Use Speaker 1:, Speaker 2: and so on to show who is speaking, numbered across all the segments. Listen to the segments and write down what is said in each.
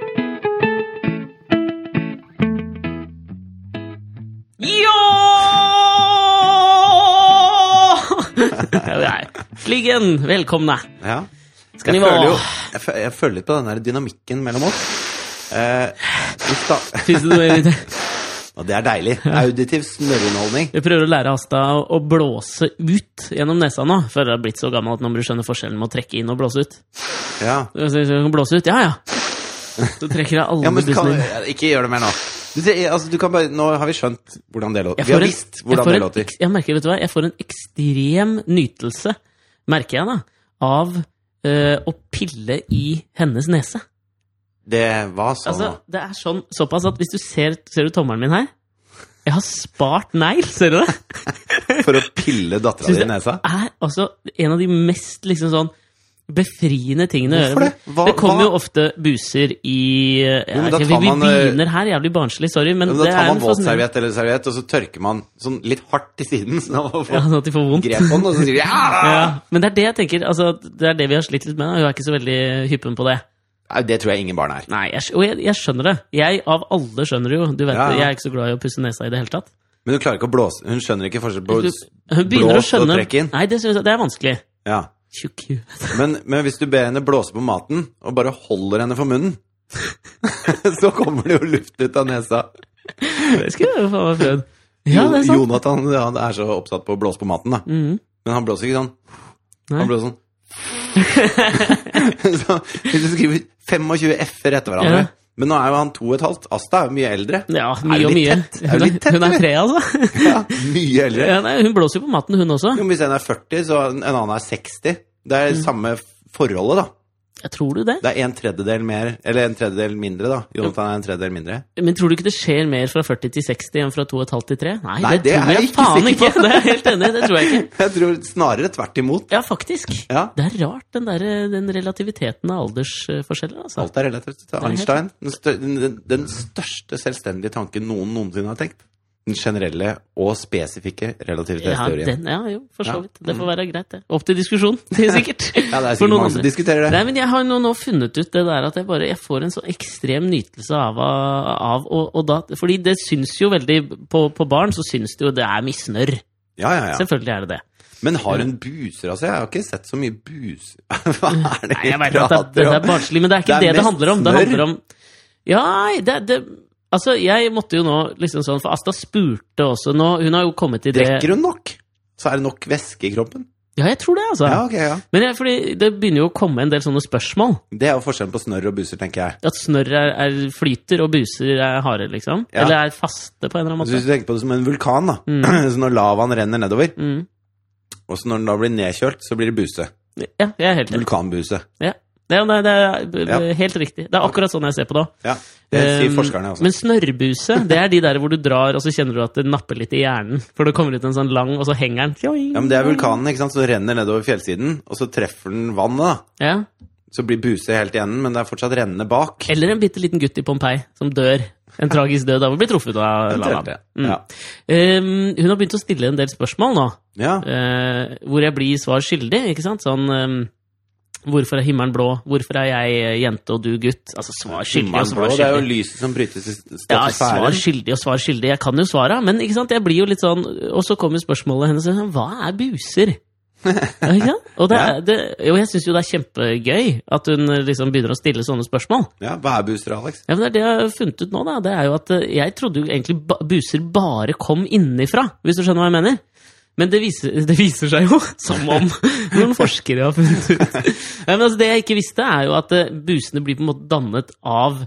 Speaker 1: Der. Fliggen, velkomne.
Speaker 2: Ja.
Speaker 1: Skal
Speaker 2: jeg
Speaker 1: ni
Speaker 2: føler
Speaker 1: være-
Speaker 2: jo jeg føler, jeg føler litt på den der dynamikken mellom oss. Eh, i sta-
Speaker 1: Tusen takk.
Speaker 2: og det er deilig. Auditiv snørrunderholdning.
Speaker 1: Vi prøver å lære Asta å- å blåse ut gjennom nesa nå, før jeg har blitt så gammel at nå må du skjønne forskjellen med å trekke inn og blåse ut.
Speaker 2: Ja.
Speaker 1: Så jeg kan blåse ut, ja ja. Så trekker jeg alle
Speaker 2: Ja, men du kan,
Speaker 1: bussene inn.
Speaker 2: ikke gjør det mer nå. Du, det, altså, du kan bare, nå har vi skjønt hvordan det låter.
Speaker 1: Jeg
Speaker 2: Vi
Speaker 1: får
Speaker 2: har
Speaker 1: en-
Speaker 2: visst hvordan
Speaker 1: jeg får
Speaker 2: det
Speaker 1: en
Speaker 2: låter.
Speaker 1: eks- Jeg merker, vet du hva, jeg får en ekstrem nytelse, merker jeg da, av eh, å pille i hennes nese.
Speaker 2: Det var sånn
Speaker 1: Altså,
Speaker 2: nå.
Speaker 1: det er sånn, såpass at hvis du ser, ser du tommelen min her? Jeg har spart negl, ser du det?
Speaker 2: For å pille dattera
Speaker 1: Synes
Speaker 2: di i
Speaker 1: jeg-
Speaker 2: nesa.
Speaker 1: er altså en av de mest liksom sånn befriende tingene å
Speaker 2: Hvorfor
Speaker 1: gjøre.
Speaker 2: det? Hva-
Speaker 1: det kommer
Speaker 2: hva-
Speaker 1: jo ofte buser i jeg
Speaker 2: Jo, men
Speaker 1: vet
Speaker 2: da
Speaker 1: ikke,
Speaker 2: tar
Speaker 1: Vi
Speaker 2: man, eh,
Speaker 1: begynner her, jævlig barnslig, sorry, men,
Speaker 2: Men
Speaker 1: det
Speaker 2: da tar
Speaker 1: er en sånn-
Speaker 2: man
Speaker 1: fascinerende
Speaker 2: våtserviett eller serviett, og så tørker man sånn litt hardt til siden. Sånn at man
Speaker 1: ja,
Speaker 2: får
Speaker 1: sånn at de får vondt.
Speaker 2: grep på den, og så sier de
Speaker 1: Ja,
Speaker 2: ja!
Speaker 1: men det er det jeg tenker, altså, det er det vi har slitt litt med. da. Hun er ikke så veldig hyppen på det.
Speaker 2: Nei, Det tror jeg ingen barn er.
Speaker 1: Nei, jeg, skj- og jeg, jeg skjønner det. Jeg av alle skjønner det jo. Du vet,
Speaker 2: Ja,
Speaker 1: det,
Speaker 2: ja.
Speaker 1: Jeg er ikke så glad i å pusse nesa i det hele tatt.
Speaker 2: Men hun klarer ikke å blåse Hun skjønner ikke forskjell på
Speaker 1: Du, hun begynner å
Speaker 2: blås og
Speaker 1: skjønne
Speaker 2: trekke inn.
Speaker 1: Nei, det synes jeg det er vanskelig.
Speaker 2: Ja.
Speaker 1: Tjukk i huet.
Speaker 2: Men, men hvis du ber henne blåse på maten, og bare holder henne for munnen, så kommer det jo luft ut av nesa.
Speaker 1: Det skulle jeg jo faen meg prøvd. Ja, det er
Speaker 2: Jo-
Speaker 1: sant.
Speaker 2: Jonathan han er så opptatt på å blåse på maten, da.
Speaker 1: Mhm.
Speaker 2: Men han blåser ikke sånn.
Speaker 1: Nei.
Speaker 2: Han blåser sånn. så hvis du skriver 25 F-er etter hverandre
Speaker 1: Ja.
Speaker 2: Men nå er jo han to og et halvt. Asta er jo mye eldre.
Speaker 1: Ja,
Speaker 2: Er
Speaker 1: mye
Speaker 2: det
Speaker 1: og
Speaker 2: litt
Speaker 1: mye.
Speaker 2: tett? Er det litt tett,
Speaker 1: hun er
Speaker 2: eller?
Speaker 1: tre, altså.
Speaker 2: Ja, mye eldre.
Speaker 1: Ja, nei, hun blåser jo på matten, hun også.
Speaker 2: Jo, men hvis en er 40, så en en annen er 60. Det er
Speaker 1: Mm.
Speaker 2: samme forholdet, da.
Speaker 1: Jeg tror du det?
Speaker 2: Det er en tredjedel mer, eller en tredjedel mindre, da. Jonathan er en tredjedel mindre.
Speaker 1: Men tror du ikke det skjer mer fra 40 til 60 enn fra 2,5 til 3? Nei,
Speaker 2: Nei,
Speaker 1: det,
Speaker 2: det
Speaker 1: tror
Speaker 2: er
Speaker 1: jeg,
Speaker 2: jeg ikke
Speaker 1: faen
Speaker 2: sikker
Speaker 1: ikke. Det er jeg helt enig, i, det tror jeg ikke.
Speaker 2: Jeg tror snarere tvert imot.
Speaker 1: Ja, faktisk.
Speaker 2: Ja.
Speaker 1: Det er rart, den, der, den relativiteten av aldersforskjeller, altså.
Speaker 2: Alt er relativt. Det er
Speaker 1: helt-
Speaker 2: Einstein. Den, stør, den, den største selvstendige tanken noen noensinne har tenkt. Den generelle og spesifikke
Speaker 1: Ja,
Speaker 2: relativitetsteorien.
Speaker 1: den, ja, jo, for så
Speaker 2: Ja.
Speaker 1: vidt. Det får være greit, det. Opp til diskusjon, det er sikkert.
Speaker 2: Ja, det
Speaker 1: For
Speaker 2: er sikkert
Speaker 1: noen
Speaker 2: mange som
Speaker 1: andre.
Speaker 2: diskuterer det.
Speaker 1: Nei, men jeg har nå, nå funnet ut det der at jeg bare jeg får en sånn ekstrem nytelse av, av og, og da, Fordi det syns jo veldig På, på barn så syns det jo det er misnørr.
Speaker 2: Ja, ja, ja.
Speaker 1: Selvfølgelig er det det.
Speaker 2: Men har hun buser, altså? Jeg har ikke sett så mye buser. Hva er det
Speaker 1: Nei,
Speaker 2: vi
Speaker 1: jeg vet at det, det,
Speaker 2: prater
Speaker 1: er
Speaker 2: om?
Speaker 1: barnslig, men det er ikke
Speaker 2: Det
Speaker 1: det
Speaker 2: er
Speaker 1: det, handler om. Det
Speaker 2: mest
Speaker 1: handler om Ja, det, det Altså, jeg måtte jo nå liksom sånn For Asta spurte også nå Hun har jo kommet i det
Speaker 2: Drikker hun nok? Så er det nok væske i kroppen?
Speaker 1: Ja, jeg tror det, altså.
Speaker 2: Ja, ok, ja.
Speaker 1: Men jeg, fordi det begynner jo å komme en del sånne spørsmål.
Speaker 2: Det er jo forskjellen på snørr og buser, tenker jeg.
Speaker 1: At snørr er, er flyter, og buser er harde, liksom.
Speaker 2: Ja.
Speaker 1: Eller er faste, på en eller annen
Speaker 2: Så
Speaker 1: måte.
Speaker 2: hvis du tenker på det som en vulkan, da. Så når lavaen renner nedover,
Speaker 1: Mm.
Speaker 2: og så når den da blir nedkjølt, så blir det buse.
Speaker 1: Ja, jeg er helt enig.
Speaker 2: Vulkanbuse.
Speaker 1: Ja. Ja, nei, det er b- b-
Speaker 2: Ja.
Speaker 1: helt riktig. Det er akkurat sånn jeg ser på det.
Speaker 2: Ja, det sier
Speaker 1: Um,
Speaker 2: forskerne også.
Speaker 1: Men snørrbuse, det er de der hvor du drar, og så kjenner du at det napper litt i hjernen. For det kommer ut en sånn lang, og så henger den.
Speaker 2: Ja, men det er vulkanen, ikke sant, som renner nedover fjellsiden, og så treffer den vannet, da.
Speaker 1: Ja.
Speaker 2: Så blir buse helt i enden, men det er fortsatt rennende bak.
Speaker 1: Eller en bitte liten gutt i Pompeii som dør. En tragisk død av å bli truffet av lavaen.
Speaker 2: Eventuelt,
Speaker 1: Mm.
Speaker 2: Ja.
Speaker 1: Um, hun har begynt å stille en del spørsmål nå,
Speaker 2: ja.
Speaker 1: eh, hvor jeg blir svar skyldig. ikke sant? Sånn um, Hvorfor er himmelen blå? Hvorfor er jeg eh, jente og du gutt? Altså, svar skyldig og
Speaker 2: Himmelen blå,
Speaker 1: svar
Speaker 2: det er jo
Speaker 1: skyldig.
Speaker 2: lyset som brytes i
Speaker 1: Ja, svar
Speaker 2: stratosfæren.
Speaker 1: skyldig og svar skyldig. Jeg kan jo svara, men ikke sant? jeg blir jo litt sånn Og så kommer spørsmålet hennes sånn, Hva er buser? Ja, ikke sant? Og det, er- det, jo, jeg syns jo det er kjempegøy at hun eh, liksom begynner å stille sånne spørsmål.
Speaker 2: Ja, hva er buser, Alex?
Speaker 1: Ja, men det er det jeg har funnet ut nå, da. Det er jo at eh, jeg trodde jo egentlig ba buser bare kom innenfra, hvis du skjønner hva jeg mener. Men det viser, det viser seg jo, som om noen forskere har funnet ut. Ja, men altså, det jeg ikke visste, er jo at eh, busene blir på en måte dannet av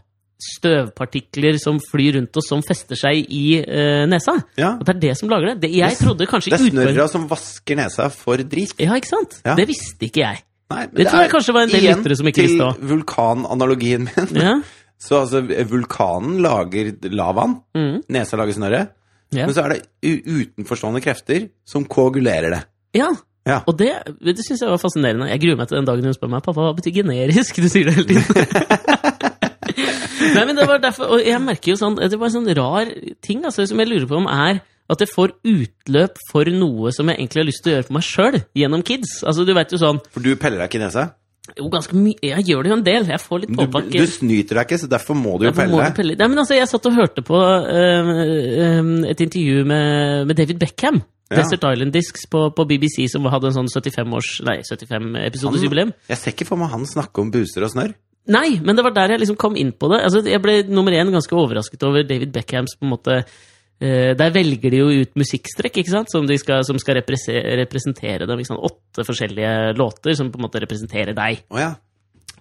Speaker 1: støvpartikler som flyr rundt og som fester seg i eh, nesa.
Speaker 2: Ja.
Speaker 1: At det er det som lager det. det jeg trodde kanskje
Speaker 2: Det er
Speaker 1: utgangspunktet-
Speaker 2: snørra som vasker nesa for drit.
Speaker 1: Ja, ikke sant?
Speaker 2: Ja.
Speaker 1: Det visste ikke jeg.
Speaker 2: Nei, men
Speaker 1: Det tror jeg
Speaker 2: er-
Speaker 1: kanskje var en del
Speaker 2: igjen
Speaker 1: lyttere som ikke visste også.
Speaker 2: Til vulkananalogien min.
Speaker 1: Ja.
Speaker 2: Så altså, vulkanen lager lavaen,
Speaker 1: Mm.
Speaker 2: nesa lager snørret,
Speaker 1: Ja.
Speaker 2: men så er det u- utenforstående krefter som koagulerer det.
Speaker 1: Ja.
Speaker 2: Ja.
Speaker 1: Og det, det syns jeg var fascinerende. Jeg gruer meg til den dagen hun spør meg pappa, hva betyr generisk. Du sier det hele tiden. Nei, men det var derfor, og jeg merker jo sånn, det var en sånn rar ting altså, som jeg lurer på om er at jeg får utløp for noe som jeg egentlig har lyst til å gjøre for meg sjøl, gjennom kids. Altså, du vet jo sånn
Speaker 2: For du peller deg ikke i nesa.
Speaker 1: Jo, ganske mye Jeg gjør det jo en del. Jeg får litt
Speaker 2: Du,
Speaker 1: påpakke.
Speaker 2: du snyter deg ikke, så derfor må du jo
Speaker 1: Derfor må du
Speaker 2: pelle deg.
Speaker 1: eh, pelle. Nei, men altså, jeg satt og hørte på øhm, øhm, et intervju med, med David Beckham.
Speaker 2: Ja.
Speaker 1: Desert Island Discs på, på BBC, som hadde en sånn 75-års Nei, 75-episodesjubileum.
Speaker 2: Mm. Jeg ser ikke for meg han snakke om buser og snørr.
Speaker 1: Nei, men det var der jeg liksom kom inn på det. Altså, jeg ble nummer én ganske overrasket over David Beckhams på en måte eh, Der velger de jo ut musikkstrekk ikke sant? som, de skal, som skal represe- representere dem. Ikke sant? Åtte forskjellige låter som på en måte representerer deg.
Speaker 2: Å ja.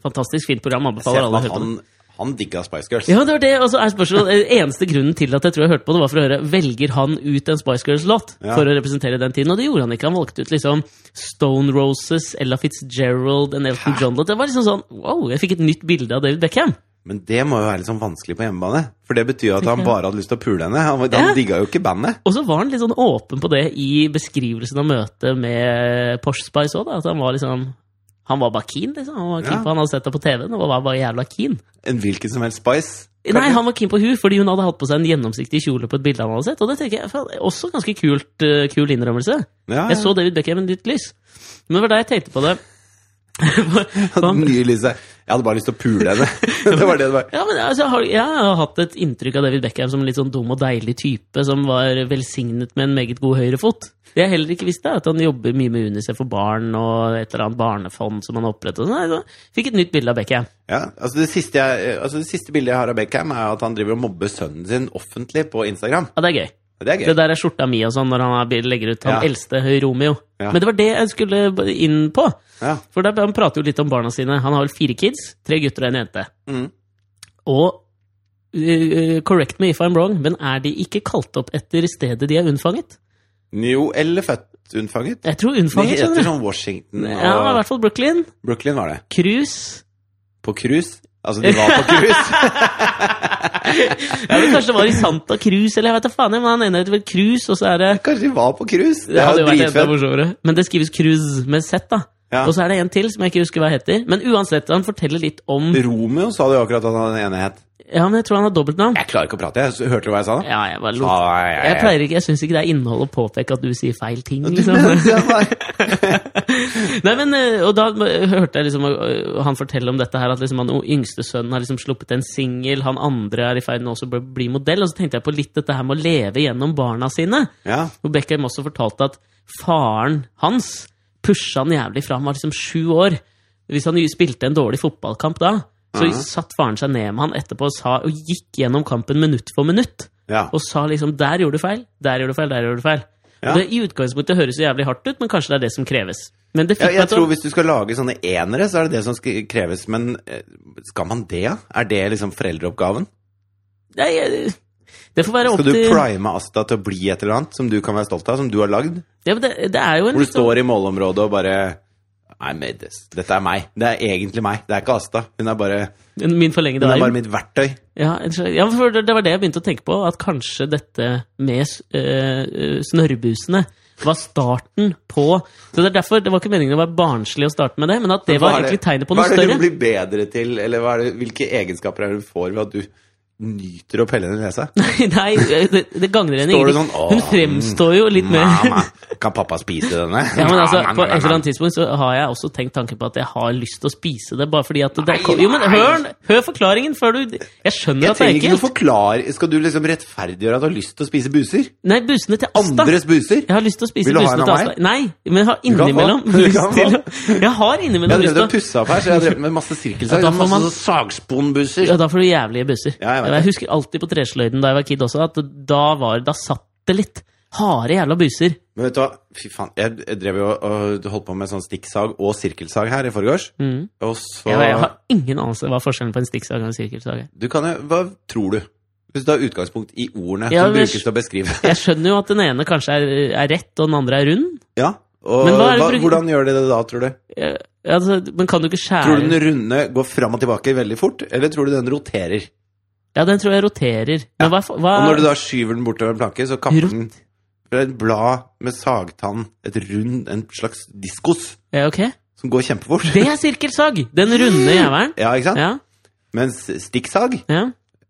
Speaker 1: Fantastisk fint program.
Speaker 2: Jeg ser
Speaker 1: Anbefaler
Speaker 2: for
Speaker 1: alle å
Speaker 2: meg
Speaker 1: høre
Speaker 2: at
Speaker 1: på det.
Speaker 2: han, han digga Spice Girls.
Speaker 1: Ja, det var det, og så er spørsmålet Eneste grunnen til at jeg tror jeg hørte på det, var for å høre Velger han ut en Spice Girls-låt
Speaker 2: Ja.
Speaker 1: for å representere den tiden? Og det gjorde han ikke. Han valgte ut liksom Stone Roses, Ella Fitzgerald, en Elton John-låt. Det var liksom sånn Wow, jeg fikk et nytt bilde av David Beckham.
Speaker 2: Men det må jo være litt sånn vanskelig på hjemmebane. For det betyr jo at han bare hadde lyst til å pule henne. Han, han
Speaker 1: Ja.
Speaker 2: digga jo ikke bandet.
Speaker 1: Og så var han litt sånn åpen på det i beskrivelsen av møtet med Porsche Spice òg, da. At han var liksom Han var bare keen, liksom. Han var keen
Speaker 2: Ja.
Speaker 1: på han hadde sett det på TV-en, og var bare jævla keen.
Speaker 2: En hvilken som helst Spice.
Speaker 1: Nei, han var keen på hun, fordi hun hadde hatt på seg en gjennomsiktig kjole på et bilde han hadde sett. Og det tenker jeg faen, også ganske kult, eh, kul innrømmelse.
Speaker 2: Ja,
Speaker 1: Jeg så David Beckham i nytt lys. Men det var da jeg tenkte på det.
Speaker 2: hadde mye lyst til- Jeg hadde bare lyst til å pule henne. det var det det var.
Speaker 1: Ja, men altså, jeg har, Jeg har hatt et inntrykk av David Beckham som en litt sånn dum og deilig type som var velsignet med en meget god høyrefot. Det jeg heller ikke visste, er at han jobber mye med UNICEF for barn og et eller annet barnefond som han har opprettet. Nei, da fikk jeg et nytt bilde av Beckham.
Speaker 2: Ja, altså det, siste jeg, altså det siste bildet jeg har av Beckham, er at han driver og mobber sønnen sin offentlig på Instagram.
Speaker 1: Ja, det er gøy.
Speaker 2: Det er gøy.
Speaker 1: Det der er skjorta mi og sånn når han er, legger ut han
Speaker 2: Ja.
Speaker 1: eldste eh, Romeo.
Speaker 2: Ja.
Speaker 1: Men det var det jeg skulle inn på.
Speaker 2: Ja.
Speaker 1: For der, han prater jo litt om barna sine. Han har vel fire kids, tre gutter og en jente.
Speaker 2: Mm.
Speaker 1: Og eh, correct me if I'm wrong, men er de ikke kalt opp etter stedet de er unnfanget?
Speaker 2: Jo, eller født unnfanget.
Speaker 1: Jeg tror
Speaker 2: De
Speaker 1: unnfanget,
Speaker 2: heter
Speaker 1: skjønner du.
Speaker 2: sånn Washington og
Speaker 1: Ja, i hvert fall Brooklyn.
Speaker 2: Brooklyn var det.
Speaker 1: Cruise.
Speaker 2: På cruise. Altså, de var på cruise.
Speaker 1: Ja, men kanskje det var i Santa Cruz, eller jeg vet da faen. Men han ene heter vel Cruise, og så er det
Speaker 2: Kanskje de var på cruise?
Speaker 1: Det hadde jo vært enda
Speaker 2: dritfett.
Speaker 1: morsommere. Men det skrives Cruise med Z, da.
Speaker 2: Ja.
Speaker 1: Og så er det en til som jeg ikke husker hva heter. Men uansett, han forteller litt om
Speaker 2: Romeo sa du akkurat at han ene het.
Speaker 1: Ja, men jeg tror han har dobbeltnavn.
Speaker 2: Jeg klarer ikke å prate, jeg. Så- Hørte du hva jeg sa nå?
Speaker 1: Ja, jeg bare
Speaker 2: Sa
Speaker 1: lot.
Speaker 2: jeg- jeg-
Speaker 1: Jeg pleier ikke, jeg syns ikke det er innhold å påpeke at du sier feil ting,
Speaker 2: Du
Speaker 1: liksom.
Speaker 2: mente jeg var-
Speaker 1: Nei, men, eh, og da eh, hørte jeg liksom eh, han fortelle om dette her, at liksom han o- yngste sønnen har liksom sluppet en singel, han andre er i ferd med også å bli modell, og så tenkte jeg på litt dette her med å leve gjennom barna sine.
Speaker 2: Ja.
Speaker 1: Hvor Beckham også fortalte at faren hans pusha han jævlig fra han var liksom sju år. Hvis han spilte en dårlig fotballkamp da, så
Speaker 2: Mhm.
Speaker 1: satt faren seg ned med han etterpå og, sa, og gikk gjennom kampen minutt for minutt
Speaker 2: ja.
Speaker 1: og sa liksom 'der gjorde du feil', 'der gjorde du feil', 'der gjorde du feil'.
Speaker 2: Ja.
Speaker 1: Og det, I utgangspunktet høres det jævlig hardt ut, men kanskje det er det som kreves. Men det
Speaker 2: Ja,
Speaker 1: fikk meg
Speaker 2: jeg
Speaker 1: til å-
Speaker 2: tror Hvis du skal lage sånne enere, så er det det som skal kreves. Men eh, skal man det? ja? Er det liksom foreldreoppgaven?
Speaker 1: Nei, jeg- det får være opp
Speaker 2: Skal du
Speaker 1: til
Speaker 2: prime Asta til å bli et eller annet som du kan være stolt av, som du har lagd?
Speaker 1: ja, men det, det er jo en
Speaker 2: Hvor du
Speaker 1: litt sånn-
Speaker 2: står i målområdet og bare I made this. Dette er meg. Det er egentlig meg. Det er ikke Asta. Hun er bare,
Speaker 1: en- min forlengede
Speaker 2: hun er bare
Speaker 1: arm.
Speaker 2: mitt verktøy.
Speaker 1: Ja, en slags- ja, for det, det var det jeg begynte å tenke på, at kanskje dette med s- eh, eh, snørrbusene var starten på Så det er derfor, det var ikke meningen å være barnslig å starte med det, men at det
Speaker 2: Hva
Speaker 1: var
Speaker 2: er
Speaker 1: egentlig tegnet på
Speaker 2: hva
Speaker 1: noe
Speaker 2: er det hun
Speaker 1: større.
Speaker 2: blir bedre til, eller hva er det, hvilke egenskaper er det hun får ved at du nyter å pelle henne i nesa?
Speaker 1: Nei, det, det gagner henne
Speaker 2: Står du
Speaker 1: ingenting.
Speaker 2: sånn,
Speaker 1: Hun
Speaker 2: «Åh, mm,
Speaker 1: fremstår jo litt mer
Speaker 2: Mamma, kan pappa spise denne?
Speaker 1: Ja, men altså,
Speaker 2: Mamma,
Speaker 1: på et
Speaker 2: mamma.
Speaker 1: eller annet tidspunkt så har jeg også tenkt tanken på at jeg har lyst til å spise det, bare fordi at det
Speaker 2: Nei,
Speaker 1: Jo, men
Speaker 2: nei.
Speaker 1: hør, hør forklaringen før du Jeg skjønner
Speaker 2: Jeg
Speaker 1: at det er
Speaker 2: trenger ikke noe
Speaker 1: ekkelt.
Speaker 2: forklar... Skal du liksom rettferdiggjøre at du har lyst til å spise buser?
Speaker 1: Nei, busene til Asta.
Speaker 2: Andres buser?
Speaker 1: Jeg har lyst til å spise
Speaker 2: Vil du ha en
Speaker 1: busene til
Speaker 2: av meg?
Speaker 1: Asta. Nei, men jeg har
Speaker 2: kan få.
Speaker 1: innimellom
Speaker 2: Du
Speaker 1: lyst
Speaker 2: kan
Speaker 1: til
Speaker 2: få.
Speaker 1: å- Jeg har
Speaker 2: Jeg
Speaker 1: innimellom
Speaker 2: har
Speaker 1: lyst
Speaker 2: drevet
Speaker 1: til å
Speaker 2: og pussa opp her, så jeg har drevet med masse
Speaker 1: Ja,
Speaker 2: sirkelsag.
Speaker 1: da får
Speaker 2: masse
Speaker 1: man-
Speaker 2: sånn sagspon-buser.
Speaker 1: ja, Da får du jævlige busser.
Speaker 2: Ja, jeg vet
Speaker 1: jeg,
Speaker 2: det.
Speaker 1: husker alltid på Tresløyden da jeg var kid også, at da, var, da satt det litt. Harde jævla buser.
Speaker 2: Men vet du hva, fy faen, jeg jeg drev jo og holdt på med sånn stikksag og sirkelsag her i forgårs.
Speaker 1: Mm.
Speaker 2: Og så
Speaker 1: Jeg, jeg har ingen anelse hva forskjellen på en stikksag og en sirkelsag er.
Speaker 2: Du kan jo Hva tror du? Hvis du har utgangspunkt i ordene
Speaker 1: Ja,
Speaker 2: som
Speaker 1: men-
Speaker 2: brukes til å beskrive.
Speaker 1: Jeg skjønner jo at den ene kanskje er, er rett, og den andre er rund.
Speaker 2: Ja, og
Speaker 1: Men hva er det
Speaker 2: hva,
Speaker 1: bruk-
Speaker 2: hvordan gjør de det da, tror du?
Speaker 1: Ja, altså, men kan du ikke skjære
Speaker 2: Tror du den runde går fram og tilbake veldig fort, eller tror du den roterer?
Speaker 1: Ja, den tror jeg roterer. Men hva, fa- hva
Speaker 2: Og når du da skyver den bortover en planke, så kapper
Speaker 1: Rot-
Speaker 2: den Det er et blad med sagtann, et rund, en slags diskos,
Speaker 1: ja, ok.
Speaker 2: som går kjempefort.
Speaker 1: Det er sirkelsag! Den runde jævelen.
Speaker 2: Ja, ikke sant?
Speaker 1: Ja,
Speaker 2: Mens stikksag,
Speaker 1: ja.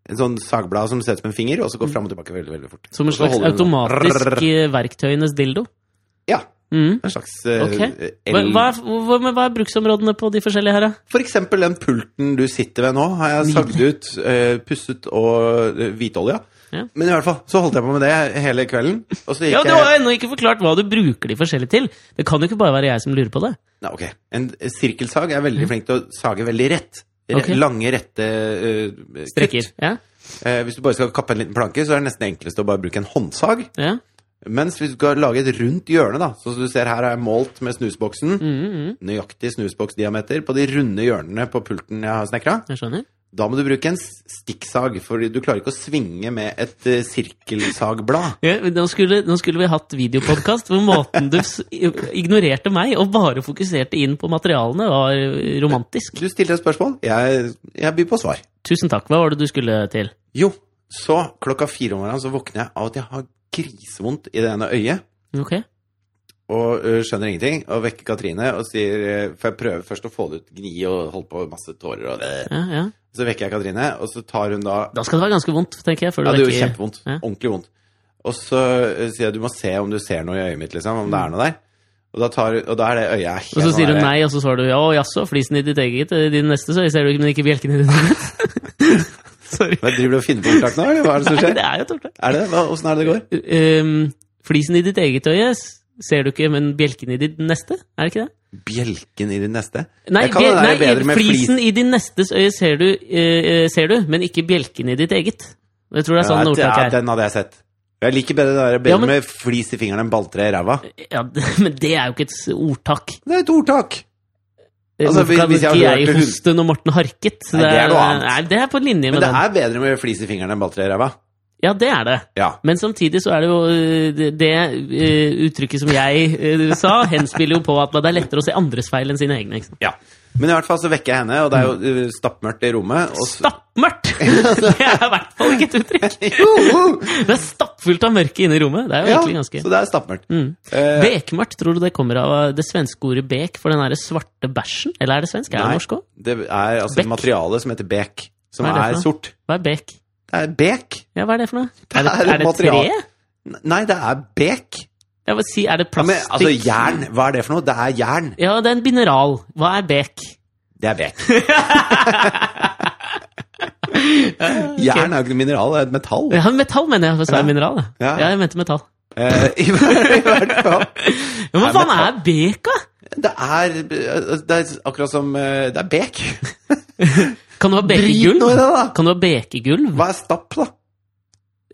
Speaker 2: en sånn sagblad som ser ut som en finger, og så går fram og tilbake veldig, veldig fort.
Speaker 1: Mm. Som
Speaker 2: Og
Speaker 1: en
Speaker 2: så
Speaker 1: slags
Speaker 2: holder du den nå.
Speaker 1: automatisk
Speaker 2: Rrrr.
Speaker 1: eh, verktøyenes dildo.
Speaker 2: Ja,
Speaker 1: Mm.
Speaker 2: en slags eh,
Speaker 1: Ok.
Speaker 2: el...
Speaker 1: Men Hva, er- hva, men hva er bruksområdene på de forskjellige her, da?
Speaker 2: For eksempel den pulten du sitter ved nå, har jeg sagd ut, eh, pusset og eh, hvitolja.
Speaker 1: Ja.
Speaker 2: Men i hvert fall, så holdt jeg på med det hele kvelden. Og så gikk
Speaker 1: Ja, Du
Speaker 2: jeg
Speaker 1: har ennå ikke forklart hva du bruker de forskjellige til. Det kan jo ikke bare være jeg som lurer på det.
Speaker 2: Nei, ok. En sirkelsag er veldig flink til å sage veldig rett.
Speaker 1: Mm.
Speaker 2: Re
Speaker 1: Ok.
Speaker 2: Lange, rette eh, kutt.
Speaker 1: Strekker. Ja,
Speaker 2: Eh, hvis du bare skal kappe en liten planke, så er det nesten enklest å bare bruke en håndsag.
Speaker 1: ja.
Speaker 2: Mens hvis du skal lage et rundt hjørne, da, sånn som du ser her har jeg målt med snusboksen,
Speaker 1: Mm, mm,
Speaker 2: nøyaktig snusboksdiameter på de runde hjørnene på pulten jeg har snekra,
Speaker 1: jeg skjønner.
Speaker 2: da må du bruke en s- stikksag, for du klarer ikke å svinge med et eh, sirkelsagblad.
Speaker 1: Ja, men nå, skulle, nå skulle vi hatt videopodkast hvor måten du s- ignorerte meg og bare fokuserte inn på materialene, var romantisk.
Speaker 2: Du stilte et spørsmål, jeg, jeg byr på svar.
Speaker 1: Tusen takk. Hva var det du skulle til?
Speaker 2: Jo, så klokka fire om morgenen så våkner jeg av at jeg har grisevondt i det ene øyet,
Speaker 1: Ok.
Speaker 2: og ø, skjønner ingenting, og vekker Katrine og sier, ø, for jeg prøver først å få det ut gni og holde på med masse tårer og det.
Speaker 1: Ja, ja.
Speaker 2: Så vekker jeg Katrine, og så tar hun da,
Speaker 1: Da skal det være ganske vondt, tenker jeg. Før du
Speaker 2: ja det gjorde
Speaker 1: vekker-
Speaker 2: kjempevondt,
Speaker 1: Ja.
Speaker 2: ordentlig vondt. Og så ø, sier jeg, du må se om du ser noe i øyet mitt, liksom, om det er noe der. Og da, tar, hun- og da er det øyet helt
Speaker 1: Og så
Speaker 2: sånn
Speaker 1: sier hun
Speaker 2: der-
Speaker 1: nei, og så svarer du ja, å, jaså, flisen i ditt eget, i din neste søy ser du ikke, men ikke bjelken i ditt eget. Sorry.
Speaker 2: Hva driver du og finner på ordtak nå, eller hva er det som
Speaker 1: Nei,
Speaker 2: skjer?
Speaker 1: det er jo tortak.
Speaker 2: Er det? Hva, hvordan er det det går?
Speaker 1: Um, flisen i ditt eget øye s- ser du ikke, men bjelken i ditt neste? Er det ikke det?
Speaker 2: Bjelken i din neste?
Speaker 1: Nei,
Speaker 2: Jeg kan
Speaker 1: bjel-
Speaker 2: den der
Speaker 1: nei
Speaker 2: bedre med
Speaker 1: flisen i din nestes øye ser du, eh, ser du, men ikke bjelken i ditt eget. Jeg tror det er sånn
Speaker 2: Ja,
Speaker 1: ordtak
Speaker 2: ja,
Speaker 1: er.
Speaker 2: Den hadde jeg sett. Jeg liker bedre, det der, bedre
Speaker 1: Ja, men-
Speaker 2: med flis i fingeren enn balltre i ræva.
Speaker 1: Ja, det- men det er jo ikke et s- ordtak.
Speaker 2: Det er et ordtak!
Speaker 1: Eh,
Speaker 2: Altså, hvis-
Speaker 1: Hvorfor kan
Speaker 2: hvis
Speaker 1: ikke
Speaker 2: jeg hadde hørt
Speaker 1: jeg
Speaker 2: det hun-
Speaker 1: hoste når Morten harket?
Speaker 2: Nei, det er noe annet.
Speaker 1: Nei, det er på linje med
Speaker 2: Men det
Speaker 1: den.
Speaker 2: er bedre med flis i fingeren enn balltre i ræva.
Speaker 1: Ja, det er det.
Speaker 2: Ja.
Speaker 1: Men samtidig så er det jo øh, det, det øh, uttrykket som jeg øh, sa, henspiller jo på at det er lettere å se andres feil enn sine egne. Ikke sant?
Speaker 2: ja. Men i hvert fall så vekker jeg henne, og det er jo uh, stappmørkt i rommet. Og så,
Speaker 1: Stappmørkt! Det er i hvert fall ikke et uttrykk.
Speaker 2: jo!
Speaker 1: Det er stappfullt av mørke inne i rommet. Det er jo
Speaker 2: Uh, Ja,
Speaker 1: egentlig ganske Mm.
Speaker 2: så det er stappmørkt. Eh,
Speaker 1: Bekmørkt, tror du det kommer av eh, det svenske ordet bek for den derre svarte bæsjen? Eller er det svensk? Er
Speaker 2: nei,
Speaker 1: det norsk òg?
Speaker 2: Det er altså
Speaker 1: Bekk.
Speaker 2: et materiale som heter bek, som
Speaker 1: Hva er det
Speaker 2: er,
Speaker 1: for noe?
Speaker 2: sort.
Speaker 1: Hva er bek?
Speaker 2: Det er bek?
Speaker 1: Ja, hva er det for noe?
Speaker 2: Det
Speaker 1: Er det,
Speaker 2: er
Speaker 1: er
Speaker 2: et
Speaker 1: det et tre?
Speaker 2: material. N- Nei, det er bek.
Speaker 1: Jeg vil si, er det
Speaker 2: Ja, men,
Speaker 1: plastikk?
Speaker 2: altså jern, hva er det for noe? Det er jern.
Speaker 1: Ja, det er en mineral. Hva er bek?
Speaker 2: Det er bek. Jern er jo ikke noe mineral, det er et metall.
Speaker 1: Ja, metall, mener jeg. For så er
Speaker 2: Ja.
Speaker 1: det mineral. da.
Speaker 2: Ja.
Speaker 1: ja, jeg mente metall.
Speaker 2: Eh, i, hvert- I hvert fall.
Speaker 1: Ja, men
Speaker 2: Nei,
Speaker 1: hva faen er
Speaker 2: men-
Speaker 1: beka?
Speaker 2: Det er, det er akkurat som eh, Det er bek.
Speaker 1: Kan du ha
Speaker 2: Drit nå i
Speaker 1: bekegulv?
Speaker 2: det, da!
Speaker 1: Kan du ha bekegulv?
Speaker 2: Hva er stapp, da?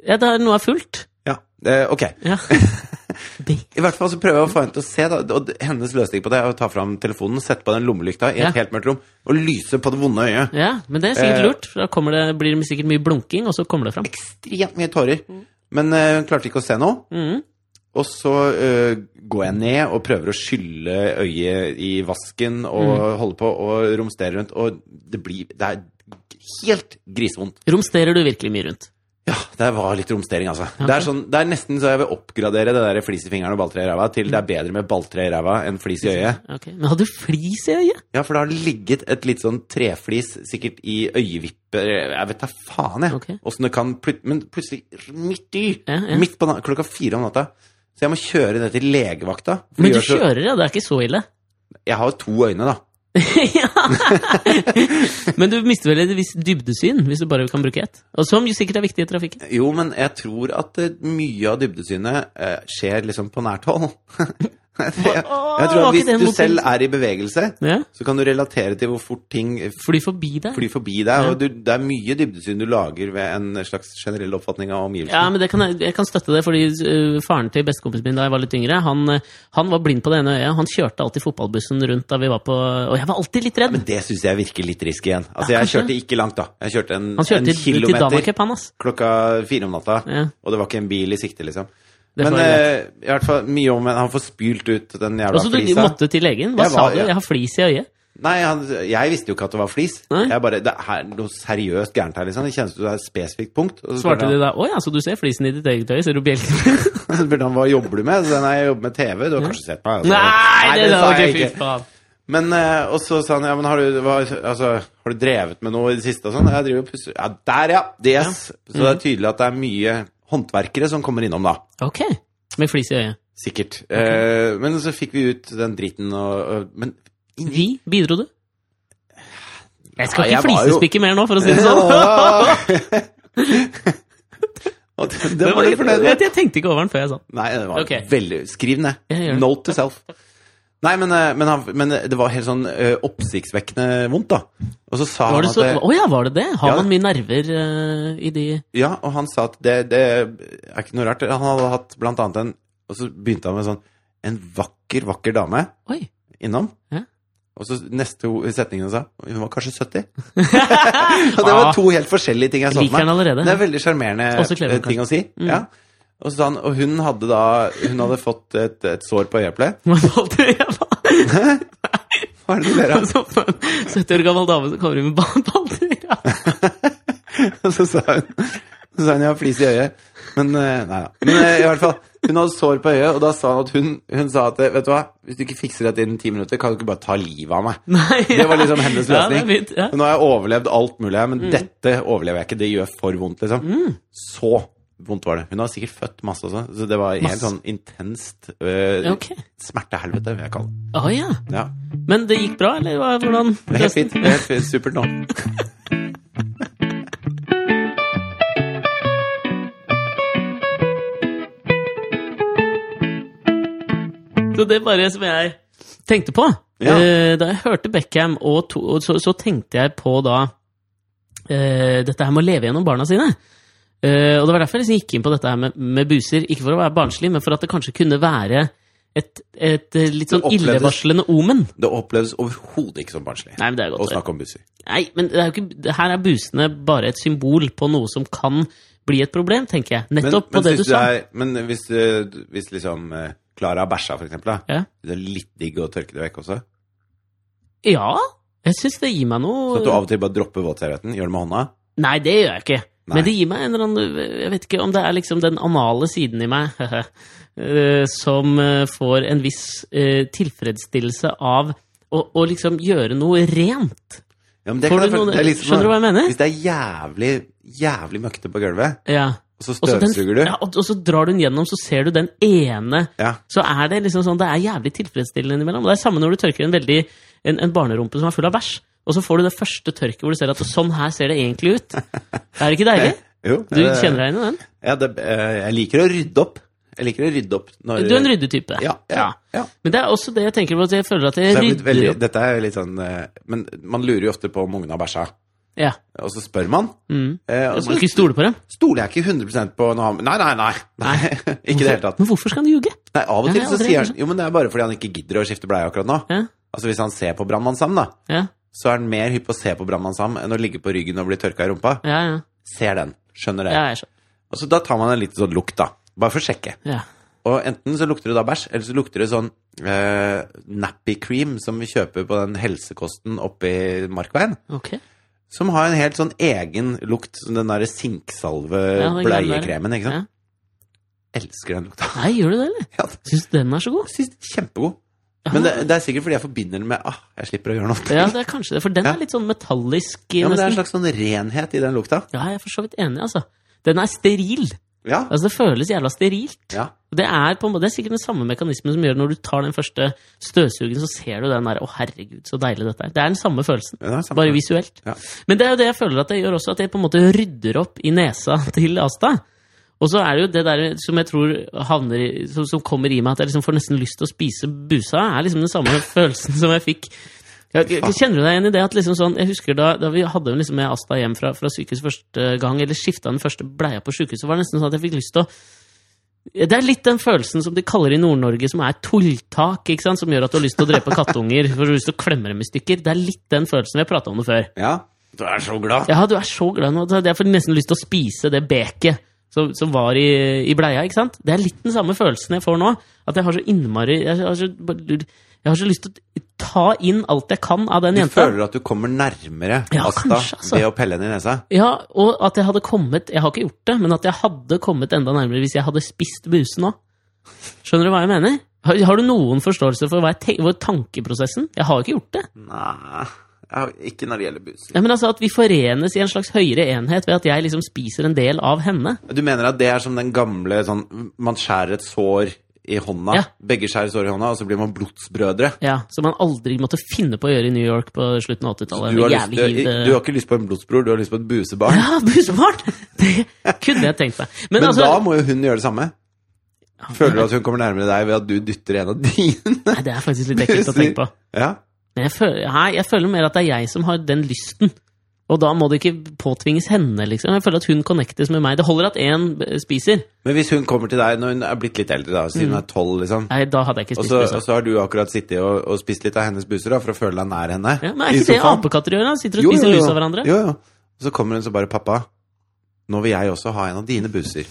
Speaker 1: Ja, det er noe er fullt.
Speaker 2: Ja, eh, ok.
Speaker 1: Ja. Be
Speaker 2: I hvert fall så prøver jeg å få henne til å se, da. Og d- hennes løsning på det er å ta fram telefonen, sette på den lommelykta i
Speaker 1: Ja.
Speaker 2: et helt mørkt rom og lyse på det vonde øyet.
Speaker 1: ja, men det er sikkert
Speaker 2: Eh.
Speaker 1: lurt. for Da kommer det, blir det sikkert mye blunking, og så kommer det fram.
Speaker 2: Ekstremt mye tårer.
Speaker 1: Mm.
Speaker 2: Men eh, hun klarte ikke å se noe.
Speaker 1: Mhm.
Speaker 2: Og så eh, går jeg ned og prøver å skylle øyet i vasken og
Speaker 1: Mm.
Speaker 2: holde på og romstere rundt, og det blir Det er helt grisevondt.
Speaker 1: Romsterer du virkelig mye rundt?
Speaker 2: Ja, det var litt romstering, altså. Det, er sånn, det er nesten så jeg vil oppgradere det der flis i fingeren og balltre i ræva til det
Speaker 1: Mm.
Speaker 2: er bedre med balltre i ræva enn flis i øyet.
Speaker 1: Ok, Men hadde du flis i øyet?
Speaker 2: Ja, for det har ligget et litt sånn treflis sikkert i øyevipper Jeg vet da faen, jeg.
Speaker 1: Ok.
Speaker 2: Åssen det kan plut Men plutselig midt i!
Speaker 1: Ja, ja.
Speaker 2: Midt på na klokka fire om natta. Så jeg må kjøre det til legevakta. For
Speaker 1: Men
Speaker 2: det
Speaker 1: du
Speaker 2: gjør så-
Speaker 1: kjører, ja. Det er ikke så ille.
Speaker 2: Jeg har jo to øyne, da.
Speaker 1: ja. Men du mister vel et visst dybdesyn, hvis du bare kan bruke ett? Og som jo sikkert er viktig i trafikken.
Speaker 2: Jo, men jeg tror at eh, mye av dybdesynet eh, skjer liksom på nært hold. jeg, jeg tror
Speaker 1: var
Speaker 2: at
Speaker 1: ikke
Speaker 2: hvis
Speaker 1: det en
Speaker 2: du
Speaker 1: motvillig-
Speaker 2: selv er i bevegelse,
Speaker 1: Ja.
Speaker 2: så kan du relatere til hvor fort ting
Speaker 1: Fly forbi deg.
Speaker 2: flyr forbi deg. Og du, det er mye dybdesyn du lager ved en slags generell oppfatning av
Speaker 1: Ja,
Speaker 2: omgivelsene.
Speaker 1: men det kan jeg, jeg kan støtte det, fordi øh, faren til bestekompisen min da jeg var litt yngre, han, øh, han var blind på det ene øyet. Han kjørte alltid fotballbussen rundt da vi var på Og jeg var alltid litt redd.
Speaker 2: Men det syns jeg virker litt risky igjen. Altså,
Speaker 1: Ja,
Speaker 2: jeg
Speaker 1: kanskje.
Speaker 2: kjørte ikke langt, da. Jeg kjørte en,
Speaker 1: han kjørte
Speaker 2: en
Speaker 1: til, til
Speaker 2: kilometer
Speaker 1: Damacup, han, ass.
Speaker 2: klokka fire om natta,
Speaker 1: Ja.
Speaker 2: og det var ikke en bil i sikte, liksom.
Speaker 1: Det
Speaker 2: Men
Speaker 1: får jeg
Speaker 2: eh, i hvert fall mye om Han får spylt ut den jævla
Speaker 1: Altså, du
Speaker 2: flisa.
Speaker 1: måtte til legen? Hva
Speaker 2: Jeg
Speaker 1: sa
Speaker 2: var-
Speaker 1: du?
Speaker 2: ja.
Speaker 1: Jeg har flis i øyet.
Speaker 2: Nei, han, jeg visste jo ikke at det var flis.
Speaker 1: Nei.
Speaker 2: Jeg bare, Det er noe seriøst gærent her, liksom. Det kjennes ut som det er et spesifikt punkt. Og så spurte
Speaker 1: Svarte
Speaker 2: han-
Speaker 1: de da 'Å ja, så du ser flisen i ditt eget øye? Ser du bjelken?'
Speaker 2: Så spurte han hva jobber du med? Så sa jeg, nei, jeg jobber med TV. Du har kanskje sett meg? altså.»
Speaker 1: Nei, det,
Speaker 2: sa
Speaker 1: var
Speaker 2: jeg
Speaker 1: ikke
Speaker 2: ikke.
Speaker 1: fy faen.
Speaker 2: Men, eh, og så sa han, ja, men har du, hva, altså, har du drevet med noe i det siste og sånn? Jeg driver og pusser. Ja, der ja, det yes. Så
Speaker 1: Mhm.
Speaker 2: det er tydelig at det er mye håndverkere som kommer innom da,
Speaker 1: Ok. Med flis i øyet.
Speaker 2: sikkert. Eh, men så fikk vi ut den dritten og, og men
Speaker 1: Vi? Bidro du? Jeg skal
Speaker 2: Ja,
Speaker 1: ikke
Speaker 2: jeg var jo-
Speaker 1: flisespikke mer nå, for å si det sånn.
Speaker 2: Det var du fornøyd med.
Speaker 1: Jeg, jeg tenkte ikke over den før jeg sa den.
Speaker 2: Nei, det var
Speaker 1: Ok.
Speaker 2: veldig Skriv ned.
Speaker 1: Jeg gjør det.
Speaker 2: Note to self. Nei, men, eh, men, han, men det var helt sånn eh, oppsiktsvekkende vondt, da. Og så sa
Speaker 1: Var
Speaker 2: han
Speaker 1: det
Speaker 2: at
Speaker 1: så,
Speaker 2: det-
Speaker 1: å ja, var det det? Har
Speaker 2: Ja.
Speaker 1: man mye nerver eh, i de
Speaker 2: Ja, og han sa at det, det er ikke noe rart. Han hadde hatt blant annet en Og så begynte han med sånn En vakker, vakker dame
Speaker 1: Oi!
Speaker 2: innom.
Speaker 1: Ja.
Speaker 2: Og så neste ho- setningen han sa Hun var kanskje 70. og det var to helt forskjellige ting jeg så
Speaker 1: Liker
Speaker 2: for
Speaker 1: han
Speaker 2: meg.
Speaker 1: allerede.
Speaker 2: Det er veldig sjarmerende
Speaker 1: Også clever,
Speaker 2: eh, ting å si.
Speaker 1: Mm.
Speaker 2: Ja. Og, så sa han, og hun hadde da Hun hadde fått et, et sår på øyeplet.
Speaker 1: Man valgte jeg var
Speaker 2: Hva er det du ler av?
Speaker 1: som en 70 år gammel dame som kommer inn med ball- baller. Ja.
Speaker 2: Og så sa hun Så sa hun jeg har flis i øyet. Men eh, nei da. Men eh, i hvert fall, hun hadde sår på øyet, og da sa hun at hun, hun sa at eh, Vet du hva, hvis du ikke fikser dette innen ti minutter, kan du ikke bare ta livet av meg?
Speaker 1: Nei,
Speaker 2: Det var liksom hennes
Speaker 1: Ja, det er
Speaker 2: løsning.
Speaker 1: fint, ja. Mm.
Speaker 2: Men Nå har jeg overlevd alt mulig, her, men dette overlever jeg ikke. Det gjør for vondt, liksom. Så vondt var det. Hun har sikkert født masse også, så det var helt
Speaker 1: Masse.
Speaker 2: sånn intenst øh,
Speaker 1: Ok.
Speaker 2: smertehelvete, vil jeg kalle det.
Speaker 1: Å ja.
Speaker 2: Ja.
Speaker 1: Men det gikk bra, eller hva- hvordan?
Speaker 2: Det er helt fint. Det er helt fint. supert nå.
Speaker 1: Så det er bare som jeg tenkte på.
Speaker 2: Ja.
Speaker 1: Eh, Da jeg hørte Beckham, og to, og så, så tenkte jeg på da eh, dette her med å leve gjennom barna sine. Eh, og det var derfor jeg liksom gikk inn på dette her med, med buser. Ikke for å være barnslig, men for at det kanskje kunne være et, et eh, litt sånn
Speaker 2: Det opplevdes-
Speaker 1: illevarslende omen.
Speaker 2: Det opplevdes overhodet ikke som barnslig
Speaker 1: Nei, men det er
Speaker 2: å
Speaker 1: godt. å-
Speaker 2: snakke om busser.
Speaker 1: Nei, men det er jo ikke, det her er busene bare et symbol på noe som kan bli et problem, tenker jeg.
Speaker 2: Men,
Speaker 1: Nettopp
Speaker 2: men,
Speaker 1: på det
Speaker 2: synes
Speaker 1: du sa.
Speaker 2: Er, men hvis, øh, hvis liksom Klara bæsja, for eksempel, da,
Speaker 1: Ja.
Speaker 2: det er litt digg å tørke det vekk også?
Speaker 1: Ja, jeg syns det gir meg noe
Speaker 2: Så Sånn at du av og til bare dropper våtservietten, gjør det med hånda?
Speaker 1: Nei, det gjør jeg ikke.
Speaker 2: Nei.
Speaker 1: Men det gir meg en eller annen Jeg vet ikke om det er liksom den anale siden i meg eh, som eh, får en viss eh, tilfredsstillelse av å, å liksom gjøre noe rent.
Speaker 2: Ja, men det
Speaker 1: Får
Speaker 2: kan
Speaker 1: du
Speaker 2: jeg-
Speaker 1: noen-
Speaker 2: det er litt som-
Speaker 1: skjønner du hva jeg mener?
Speaker 2: Hvis det er jævlig, jævlig møkkete på gulvet,
Speaker 1: Ja.
Speaker 2: og så
Speaker 1: Og så den-
Speaker 2: støvsuger du
Speaker 1: Ja, og, og så drar du den gjennom, så ser du den ene
Speaker 2: Ja.
Speaker 1: Så er det liksom sånn, det er jævlig tilfredsstillende innimellom. Det er samme når du tørker en, veldig, en, en barnerumpe som er full av bæsj, og så får du det første tørket hvor du ser at sånn her ser det egentlig ut. Er det ikke deilig?
Speaker 2: Eh, Jo,
Speaker 1: Du kjenner deg inn i den?
Speaker 2: Ja, det, eh, jeg liker å rydde opp. Jeg liker å rydde opp når
Speaker 1: Du er en ryddetype.
Speaker 2: Ja. ja, ja.
Speaker 1: Men det er også det jeg tenker på, at jeg føler at
Speaker 2: Så
Speaker 1: jeg
Speaker 2: jeg er blitt
Speaker 1: rydder
Speaker 2: veldig,
Speaker 1: opp.
Speaker 2: dette er litt sånn eh, Men man lurer jo ofte på om ungene har bæsja.
Speaker 1: Ja.
Speaker 2: Og så spør man.
Speaker 1: Mm.
Speaker 2: eh,
Speaker 1: Jeg
Speaker 2: og så
Speaker 1: skal ikke stole på dem.
Speaker 2: stoler jeg ikke 100 på når han Nei, nei, nei! nei. ikke i det hele tatt.
Speaker 1: Men hvorfor skal han ljuge?
Speaker 2: Nei, Av og
Speaker 1: Ja,
Speaker 2: til
Speaker 1: jeg
Speaker 2: så
Speaker 1: aldri-
Speaker 2: sier han Jo, men det er bare fordi han ikke gidder å skifte bleie akkurat nå.
Speaker 1: Ja.
Speaker 2: Altså Hvis han ser på Brannmann Sam, da,
Speaker 1: Ja.
Speaker 2: så er han mer hypp på å se på Brannmann Sam enn å ligge på ryggen og bli tørka i rumpa.
Speaker 1: Ja, ja.
Speaker 2: Ser den. Skjønner det.
Speaker 1: ja, jeg skjønner.
Speaker 2: Og så da tar man en liten sånn lukt, da. Bare for å sjekke.
Speaker 1: Ja.
Speaker 2: Og enten så lukter det da bæsj, eller så lukter det sånn eh, nappy cream som vi kjøper på den helsekosten oppe i Markveien.
Speaker 1: Ok.
Speaker 2: Som har en helt sånn egen lukt, som den
Speaker 1: Ja, den greia
Speaker 2: derre
Speaker 1: der.
Speaker 2: sinksalve-bleiekremen, ikke sant. Elsker den lukta.
Speaker 1: Nei, gjør du det, eller?
Speaker 2: Ja,
Speaker 1: Syns du den er så god?
Speaker 2: jeg synes den er kjempegod. Men det, det er sikkert fordi jeg forbinder den med ah, jeg slipper å gjøre noe.
Speaker 1: Ja, det er kanskje det, for den
Speaker 2: Ja.
Speaker 1: er litt sånn metallisk.
Speaker 2: Ja, men det er
Speaker 1: nesten.
Speaker 2: en slags sånn renhet i den lukta.
Speaker 1: Ja, jeg er for så vidt enig, altså. Den er steril.
Speaker 2: Ja.
Speaker 1: Altså, det føles jævla sterilt.
Speaker 2: ja.
Speaker 1: Og Det er, på en måte, det er sikkert den samme mekanismen som gjør når du tar den første støvsugen, så ser du den der 'Å, herregud, så deilig dette er'. Det er den samme følelsen.
Speaker 2: Det er samme.
Speaker 1: Bare visuelt.
Speaker 2: Ja.
Speaker 1: Men det er jo det jeg føler at jeg gjør også, at jeg på en måte rydder opp i nesa til Asta. Og så er det jo det der som jeg tror havner i, som, som kommer i meg, at jeg liksom får nesten lyst til å spise busa, er liksom den samme følelsen som jeg fikk. Jeg- jeg- Kjenner du deg igjen i det? at liksom sånn, Jeg husker da, da vi hadde liksom med Asta hjem fra, fra sykehus første gang, eller skifta den første bleia på sykehuset, var det nesten sånn at jeg fikk lyst til å det er litt den følelsen som de kaller i Nord-Norge, som er tulltak, ikke sant? som gjør at du har lyst til å drepe kattunger for du har lyst til å klemme dem i stykker. Det er litt den følelsen. Vi har prata om det før.
Speaker 2: Ja. Du er så glad.
Speaker 1: Ja, du er så glad nå. Jeg får nesten lyst til å spise det beket som, som var i, i bleia. ikke sant? Det er litt den samme følelsen jeg får nå. At jeg har så innmari Jeg har så, jeg har så lyst til å ta inn alt jeg kan av den
Speaker 2: Du
Speaker 1: jenta.
Speaker 2: føler at du kommer nærmere
Speaker 1: Ja,
Speaker 2: Asta
Speaker 1: kanskje, altså.
Speaker 2: ved å pelle henne i nesa.
Speaker 1: Ja, og at jeg hadde kommet Jeg har ikke gjort det, men at jeg hadde kommet enda nærmere hvis jeg hadde spist buse nå. Skjønner du hva jeg mener? Har, har du noen forståelse for hva jeg ten- for tankeprosessen? Jeg har jo ikke gjort det.
Speaker 2: Mm. Nei, ja, ikke når det gjelder buser.
Speaker 1: Ja, men altså At vi forenes i en slags høyere enhet ved at jeg liksom spiser en del av henne.
Speaker 2: Du mener at det er som den gamle sånn Man skjærer et sår i hånda.
Speaker 1: Ja.
Speaker 2: Begge skjærer sår i hånda, og så blir man blodsbrødre.
Speaker 1: Ja, Som man aldri måtte finne på å gjøre i New York på slutten av 80-tallet.
Speaker 2: Du har,
Speaker 1: Med
Speaker 2: lyst,
Speaker 1: jævlig
Speaker 2: du,
Speaker 1: hiv, eh,
Speaker 2: du har ikke lyst på en blodsbror, du har lyst på et busebarn.
Speaker 1: Ja, busebarn! Det kunne jeg tenkt meg. Men,
Speaker 2: Men
Speaker 1: altså,
Speaker 2: da må jo hun gjøre det samme. Føler du at hun kommer nærmere deg ved at du dytter en av dine?
Speaker 1: Nei, det er faktisk litt ekkelt å tenke på.
Speaker 2: Ja.
Speaker 1: Men jeg føler, nei, jeg føler mer at det er jeg som har den lysten. Og da må det ikke påtvinges henne, liksom. Jeg føler at hun connectes med meg. Det holder at én spiser.
Speaker 2: Men hvis hun kommer til deg når hun er blitt litt eldre, da, siden
Speaker 1: Mm.
Speaker 2: hun er tolv, liksom,
Speaker 1: Nei, da hadde jeg ikke
Speaker 2: og
Speaker 1: spist
Speaker 2: så, og
Speaker 1: buser.
Speaker 2: så har du akkurat sittet og, og spist litt av hennes buser da, for å føle deg nær henne
Speaker 1: Ja, men er ikke det apekatter gjør? da? Sitter og
Speaker 2: Jo, jo,
Speaker 1: spiser
Speaker 2: jo.
Speaker 1: lus av hverandre?
Speaker 2: Jo, jo. Og så kommer hun så bare 'Pappa, nå vil jeg også ha en av dine buser'.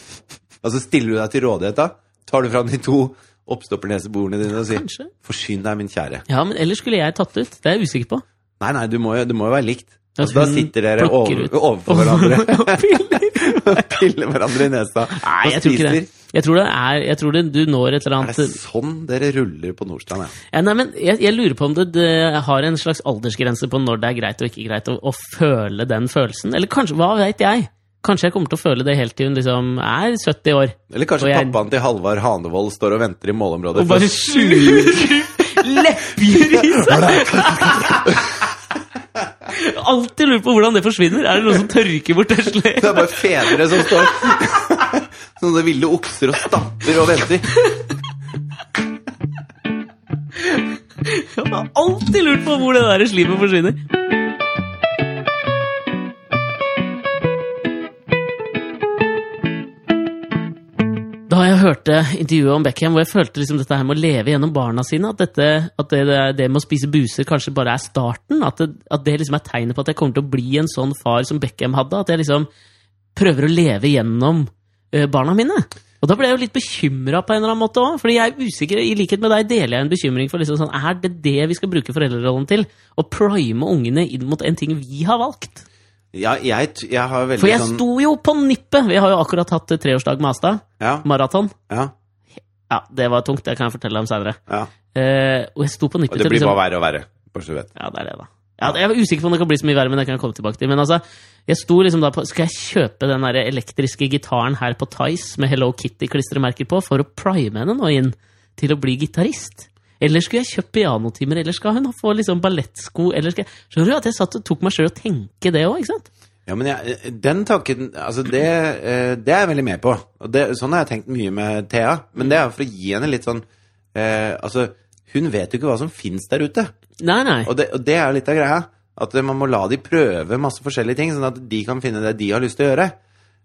Speaker 2: Og så stiller du deg til rådighet, da. Tar du fram de to oppstoppernesebordene dine og sier
Speaker 1: Kanskje.
Speaker 2: 'Forsyn deg, min kjære'.
Speaker 1: Ja, men ellers skulle jeg tatt ut. Det er jeg usikker på.
Speaker 2: Nei, nei, du må jo, det må jo være likt.
Speaker 1: At
Speaker 2: Altså, da
Speaker 1: hun
Speaker 2: sitter dere
Speaker 1: plukker
Speaker 2: over,
Speaker 1: ut.
Speaker 2: overfor hverandre
Speaker 1: Piller.
Speaker 2: og piller hverandre i nesa.
Speaker 1: Nei,
Speaker 2: og
Speaker 1: jeg tror ikke det. Altså-
Speaker 2: spiser.
Speaker 1: Jeg tror det er Jeg tror det, du når et eller
Speaker 2: Er
Speaker 1: annet
Speaker 2: det sånn dere ruller på Nordstrand? Ja?
Speaker 1: Ja, nei, men jeg, jeg lurer på om det, det har en slags aldersgrense på når det er greit og ikke greit å, å føle den følelsen. Eller kanskje, hva veit jeg? Kanskje jeg kommer til å føle det helt til hun liksom er 70 år.
Speaker 2: Eller kanskje
Speaker 1: Og jeg-
Speaker 2: pappaen til Halvard Hanevold står og venter i målområdet?
Speaker 1: Og bare sluker lepper i seg! Alltid lurer på hvordan det forsvinner. Er det noen som tørker bort
Speaker 2: Det
Speaker 1: tesla?
Speaker 2: er bare fedre som står Sånne ville okser og stapper og venter.
Speaker 1: Alltid lurt på hvor det der slimet forsvinner. Da jeg hørte intervjuet om Beckham, hvor jeg følte liksom dette her med å leve gjennom barna sine, at, dette, at det, det, det med å spise buser kanskje bare er starten, at det, at det liksom er tegnet på at jeg kommer til å bli en sånn far som Beckham hadde, at jeg liksom prøver å leve gjennom eh, barna mine. Og da ble jeg jo litt bekymra på en eller annen måte òg, fordi jeg er usikker, i likhet med deg deler jeg en bekymring for liksom sånn, er det det vi skal bruke foreldrerollen til? Å prime ungene inn mot en ting vi har valgt?
Speaker 2: Ja, jeg, t- jeg har veldig
Speaker 1: For jeg
Speaker 2: sånn
Speaker 1: sto jo på nippet! Vi har jo akkurat hatt eh, treårsdag med Astad,
Speaker 2: Ja,
Speaker 1: maraton.
Speaker 2: ja,
Speaker 1: Ja, det var tungt. Det kan jeg fortelle om seinere.
Speaker 2: ja.
Speaker 1: og jeg sto på
Speaker 2: Og
Speaker 1: nippet
Speaker 2: det
Speaker 1: til
Speaker 2: blir
Speaker 1: liksom-
Speaker 2: bare verre og verre. Bare så du vet.
Speaker 1: Ja, det er det, da. Ja, jeg var usikker på om det kan bli så mye verre, men det kan jeg komme tilbake til. Men altså, jeg sto liksom da på Skal jeg kjøpe den der elektriske gitaren her på Tice med Hello Kitty-klistremerker på for å prime henne nå inn til å bli gitarist? Eller skulle jeg kjøpt pianotimer, eller skal hun få liksom ballettsko eller skal jeg... Skjønner du at jeg satt og tok meg sjøl og tenke det òg, ikke sant?
Speaker 2: Ja, men jeg, den tanken Altså, det, eh, det er jeg veldig med på. Og det, sånn har jeg tenkt mye med Thea. Men det er for å gi henne litt sånn eh, Altså, hun vet jo ikke hva som fins der ute.
Speaker 1: Nei, nei.
Speaker 2: Og det, og det er jo litt av greia. At man må la de prøve masse forskjellige ting, sånn at de kan finne det de har lyst til å gjøre.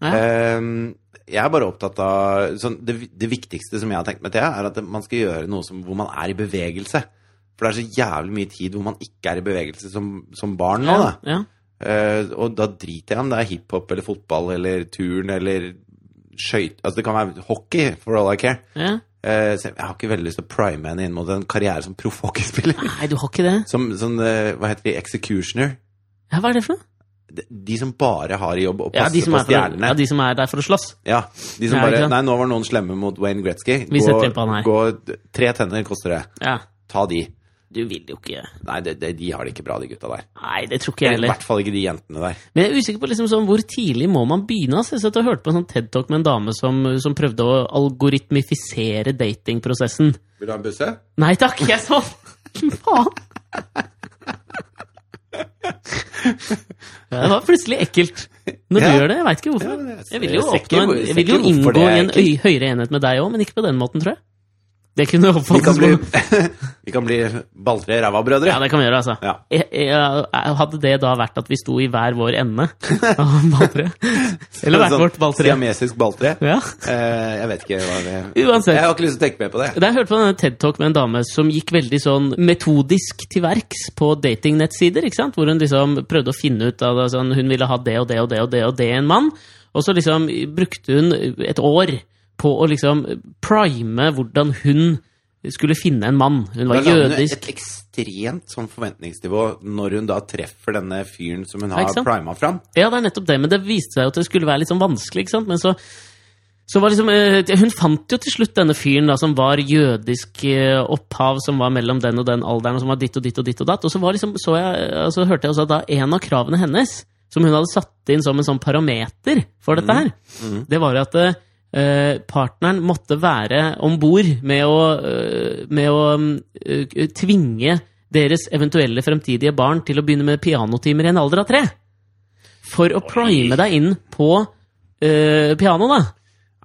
Speaker 1: Ja.
Speaker 2: Ehm, jeg er bare opptatt av sånn, det, det viktigste som jeg har tenkt med Thea, er at man skal gjøre noe som, hvor man er i bevegelse. For det er så jævlig mye tid hvor man ikke er i bevegelse som, som barn nå, da.
Speaker 1: Ja.
Speaker 2: Eh, og da driter jeg om det er hiphop eller fotball eller turn eller skøyt Altså, det kan være hockey, for all I care.
Speaker 1: Ja.
Speaker 2: Eh, så jeg har ikke veldig lyst til å prime henne inn mot en karriere som proffhockeyspiller.
Speaker 1: Nei, du har ikke det?
Speaker 2: Som, som eh, hva heter de, executioner?
Speaker 1: Ja, hva er det for noe?
Speaker 2: De, de som bare har i jobb å
Speaker 1: Ja,
Speaker 2: passe
Speaker 1: de som
Speaker 2: på
Speaker 1: er, for,
Speaker 2: stjernene.
Speaker 1: ja, de som er der for å slåss.
Speaker 2: Ja, de som
Speaker 1: Ja, ikke
Speaker 2: bare
Speaker 1: sant?
Speaker 2: Nei, nå var noen slemme mot Wayne Gretzky.
Speaker 1: Vi setter inn på han her.
Speaker 2: gå Tre tenner koster det.
Speaker 1: Ja.
Speaker 2: Ta de.
Speaker 1: Du vil jo ikke
Speaker 2: Nei, det, det, de har det ikke bra, de gutta der.
Speaker 1: Nei, det tror ikke jeg
Speaker 2: I
Speaker 1: heller.
Speaker 2: hvert fall ikke de jentene der.
Speaker 1: Men jeg er usikker på liksom sånn, hvor tidlig må man begynne. ass? Jeg satt og hørte på en sånn TED-talk med en dame som, som prøvde å algoritmifisere datingprosessen.
Speaker 2: Vil du ha en busse?
Speaker 1: Nei takk, jeg sa faen! Det var plutselig ekkelt. Når du
Speaker 2: Ja.
Speaker 1: gjør det, jeg veit ikke
Speaker 2: Ja,
Speaker 1: hvorfor.
Speaker 2: men jeg-
Speaker 1: Jeg vil jo,
Speaker 2: jeg ser ikke
Speaker 1: oppnå en,
Speaker 2: hvor- jeg
Speaker 1: jeg
Speaker 2: ser
Speaker 1: vil jo
Speaker 2: ikke hvorfor det
Speaker 1: inngå i
Speaker 2: er
Speaker 1: en øy, høyere enhet med deg òg, men ikke på den måten, tror jeg. Det kunne
Speaker 2: Vi kan
Speaker 1: oppfattes
Speaker 2: bli,
Speaker 1: som
Speaker 2: vi kan bli balltre ræva-brødre.
Speaker 1: Ja, det kan vi gjøre, altså.
Speaker 2: Ja.
Speaker 1: Jeg, jeg, hadde det da vært at vi sto i hver vår ende av balltreet? Eller
Speaker 2: Sånn
Speaker 1: hvert vårt balltre?
Speaker 2: Siamesisk balltre.
Speaker 1: Ja.
Speaker 2: Eh, jeg vet ikke hva det
Speaker 1: Uansett.
Speaker 2: Jeg har ikke lyst til å tenke mer på det.
Speaker 1: Da jeg hørte på denne TED-talk med en dame som gikk veldig sånn metodisk til verks på datingnettsider, ikke sant? hvor hun liksom prøvde å finne ut av det, sånn, hun ville ha det og det og det og det og det en mann, og så liksom brukte hun et år på å liksom prime hvordan hun skulle finne en mann. Hun var
Speaker 2: Da la hun
Speaker 1: jødisk.
Speaker 2: Et ekstremt sånn forventningsnivå når hun da treffer denne fyren som hun
Speaker 1: Ja,
Speaker 2: har
Speaker 1: ikke sant?
Speaker 2: prima fram.
Speaker 1: Ja, det er nettopp det, men det viste seg jo at det skulle være litt sånn vanskelig, ikke sant? Men så, så var liksom eh, Hun fant jo til slutt denne fyren da, som var jødisk eh, opphav, som var mellom den og den alderen, og som var ditt og ditt og ditt og datt. Og så, var liksom, så, jeg, eh, så hørte jeg også at da en av kravene hennes, som hun hadde satt inn som en sånn parameter for dette her, det var at eh, eh, partneren måtte være om bord med å, eh, med å eh, tvinge deres eventuelle fremtidige barn til å begynne med pianotimer i en alder av tre. For å prime deg inn på eh, piano, da.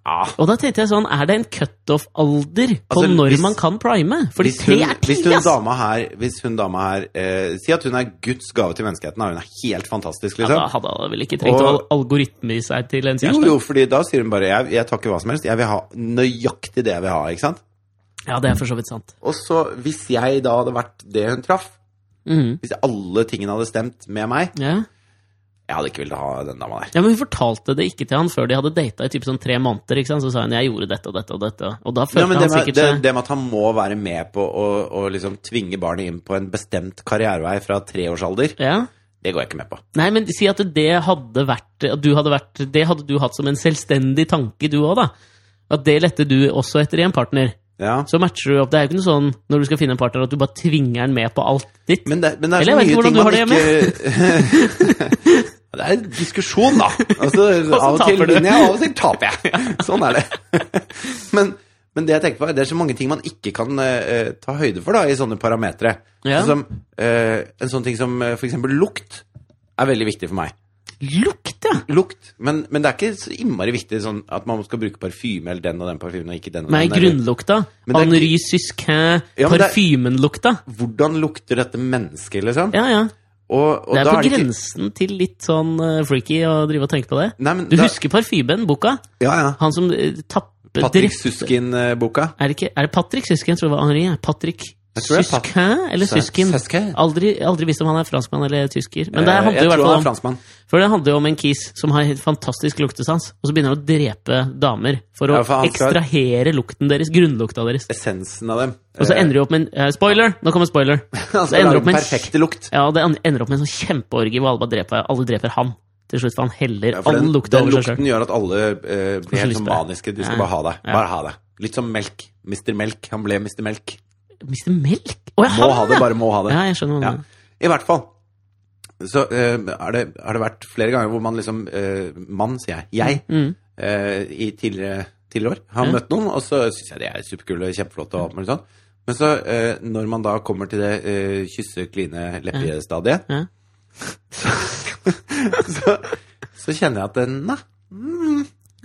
Speaker 2: Ja,
Speaker 1: Og da tenkte jeg sånn, er det en cutoff-alder på
Speaker 2: Altså,
Speaker 1: når
Speaker 2: hvis-
Speaker 1: man kan prime? Fordi
Speaker 2: hvis
Speaker 1: tre
Speaker 2: hun,
Speaker 1: er ti,
Speaker 2: hvis hun
Speaker 1: ass!
Speaker 2: dama her, hvis hun dama her eh, Si at hun er Guds gave til menneskeheten. Da. Hun er helt fantastisk,
Speaker 1: Ja, da
Speaker 2: liksom.
Speaker 1: hadde han vel ikke trengt å
Speaker 2: Og-
Speaker 1: algoritme i seg til en
Speaker 2: Jo,
Speaker 1: kjæreste.
Speaker 2: jo, fordi da sier hun bare jeg, 'jeg tar ikke hva som helst', jeg vil ha nøyaktig det jeg vil ha. ikke sant?
Speaker 1: Ja, det er for så vidt sant.
Speaker 2: Og så, hvis jeg da hadde vært det hun traff,
Speaker 1: Mhm.
Speaker 2: hvis alle tingene hadde stemt med meg
Speaker 1: Ja.
Speaker 2: Jeg hadde ikke villet ha den dama der.
Speaker 1: ja, men Hun fortalte det ikke til han før de hadde data i typ sånn tre måneder. ikke sant? Så sa hun 'jeg gjorde dette og dette og dette'. Og da
Speaker 2: Ja,
Speaker 1: følte
Speaker 2: men det,
Speaker 1: han
Speaker 2: med,
Speaker 1: sikkert
Speaker 2: det,
Speaker 1: seg
Speaker 2: det med at han må være med på å, å liksom tvinge barnet inn på en bestemt karrierevei fra treårsalder,
Speaker 1: ja.
Speaker 2: det går jeg ikke med på.
Speaker 1: Nei, men si at det hadde vært, at du hadde vært Det hadde du hatt som en selvstendig tanke, du òg, da. At det lette du også etter i en partner.
Speaker 2: Ja.
Speaker 1: Så matcher du opp. Det er jo ikke noe sånn når du skal finne en partner, at du bare tvinger den med på alt ditt.
Speaker 2: Men det, men det er
Speaker 1: Eller
Speaker 2: så
Speaker 1: jeg
Speaker 2: mye
Speaker 1: vet
Speaker 2: ting
Speaker 1: ikke
Speaker 2: man
Speaker 1: hvordan
Speaker 2: ikke Det er en diskusjon, da. Altså,
Speaker 1: så
Speaker 2: av og til
Speaker 1: taper du.
Speaker 2: vinner jeg, av og til taper jeg. Sånn er det. Men, men det jeg tenker på, er det er så mange ting man ikke kan eh, ta høyde for da, i sånne parametere.
Speaker 1: Ja.
Speaker 2: Sånn Som, eh, en sånn ting som eh, for eksempel lukt er veldig viktig for meg.
Speaker 1: Lukt, ja!
Speaker 2: Lukt, men, men det er ikke så innmari viktig sånn at man skal bruke parfyme eller den og den parfymen og ikke den og
Speaker 1: Nei,
Speaker 2: den. eller-
Speaker 1: grunnlukta.
Speaker 2: Men det er
Speaker 1: Henri Sysquin,
Speaker 2: Ja, men det er-
Speaker 1: parfymenlukta.
Speaker 2: Hvordan lukter dette mennesket, liksom?
Speaker 1: Ja, ja.
Speaker 2: Og, og
Speaker 1: Det er
Speaker 2: da
Speaker 1: på
Speaker 2: ikke-
Speaker 1: grensen til litt sånn eh, freaky å drive og tenke på det.
Speaker 2: Nei, men
Speaker 1: Du
Speaker 2: da-
Speaker 1: husker parfymen, boka?
Speaker 2: Ja, ja.
Speaker 1: Han som eh, tapper
Speaker 2: Patrick
Speaker 1: drepte-
Speaker 2: Suskin-boka.
Speaker 1: Er det, ikke, er det Patrick Sysken? Jeg tror det var Henri. ja. Patrick
Speaker 2: Jeg tror det er Pat-
Speaker 1: Sysken eller
Speaker 2: Sy-
Speaker 1: Sysken?
Speaker 2: Syskin.
Speaker 1: Aldri, aldri visst om han er franskmann eller tysker. Men det
Speaker 2: Eh,
Speaker 1: handler jo
Speaker 2: jeg
Speaker 1: i hvert
Speaker 2: tror han er
Speaker 1: fall om
Speaker 2: franskmann.
Speaker 1: For det handler jo om en kis som har helt fantastisk luktesans, og så begynner han å drepe damer for å
Speaker 2: Ja, for han skal-
Speaker 1: ekstrahere lukten deres, grunnlukta deres.
Speaker 2: Essensen av dem.
Speaker 1: Og så ender det opp med en eh, Spoiler! Nå kommer spoiler. Det
Speaker 2: Han skal
Speaker 1: ender
Speaker 2: lage
Speaker 1: opp med
Speaker 2: den
Speaker 1: en
Speaker 2: perfekte lukt.
Speaker 1: Ja, det ender opp med en sånn kjempeorgie hvor alle bare dreper, alle dreper han. Til slutt, for han heller
Speaker 2: Ja, for
Speaker 1: all
Speaker 2: den,
Speaker 1: lukt
Speaker 2: den
Speaker 1: over seg
Speaker 2: lukten
Speaker 1: sjøl.
Speaker 2: gjør at alle eh, blir helt
Speaker 1: lyst
Speaker 2: sånn
Speaker 1: på det.
Speaker 2: maniske. De skal
Speaker 1: Ja.
Speaker 2: bare ha deg.
Speaker 1: Ja.
Speaker 2: Bare ha deg. Litt som melk. Mr. Melk. Han ble Mr. Melk.
Speaker 1: Mr. Melk? Å, ja,
Speaker 2: Må
Speaker 1: han,
Speaker 2: ha det,
Speaker 1: ja.
Speaker 2: bare må ha det.
Speaker 1: Ja, jeg skjønner hva
Speaker 2: Ja.
Speaker 1: du mener.
Speaker 2: I hvert fall. Så eh, er det, har det vært flere ganger hvor man liksom eh, Mann, sier jeg. Jeg.
Speaker 1: Mm.
Speaker 2: eh, i tidligere, tidligere år. Har
Speaker 1: Ja.
Speaker 2: møtt noen, og så syns jeg de er superkule, kjempeflotte og alt mulig sånn. Men så, eh, når man da kommer til det eh, kysse, kline, leppe-stadiet,
Speaker 1: Ja.
Speaker 2: så, så kjenner jeg at eh, nei,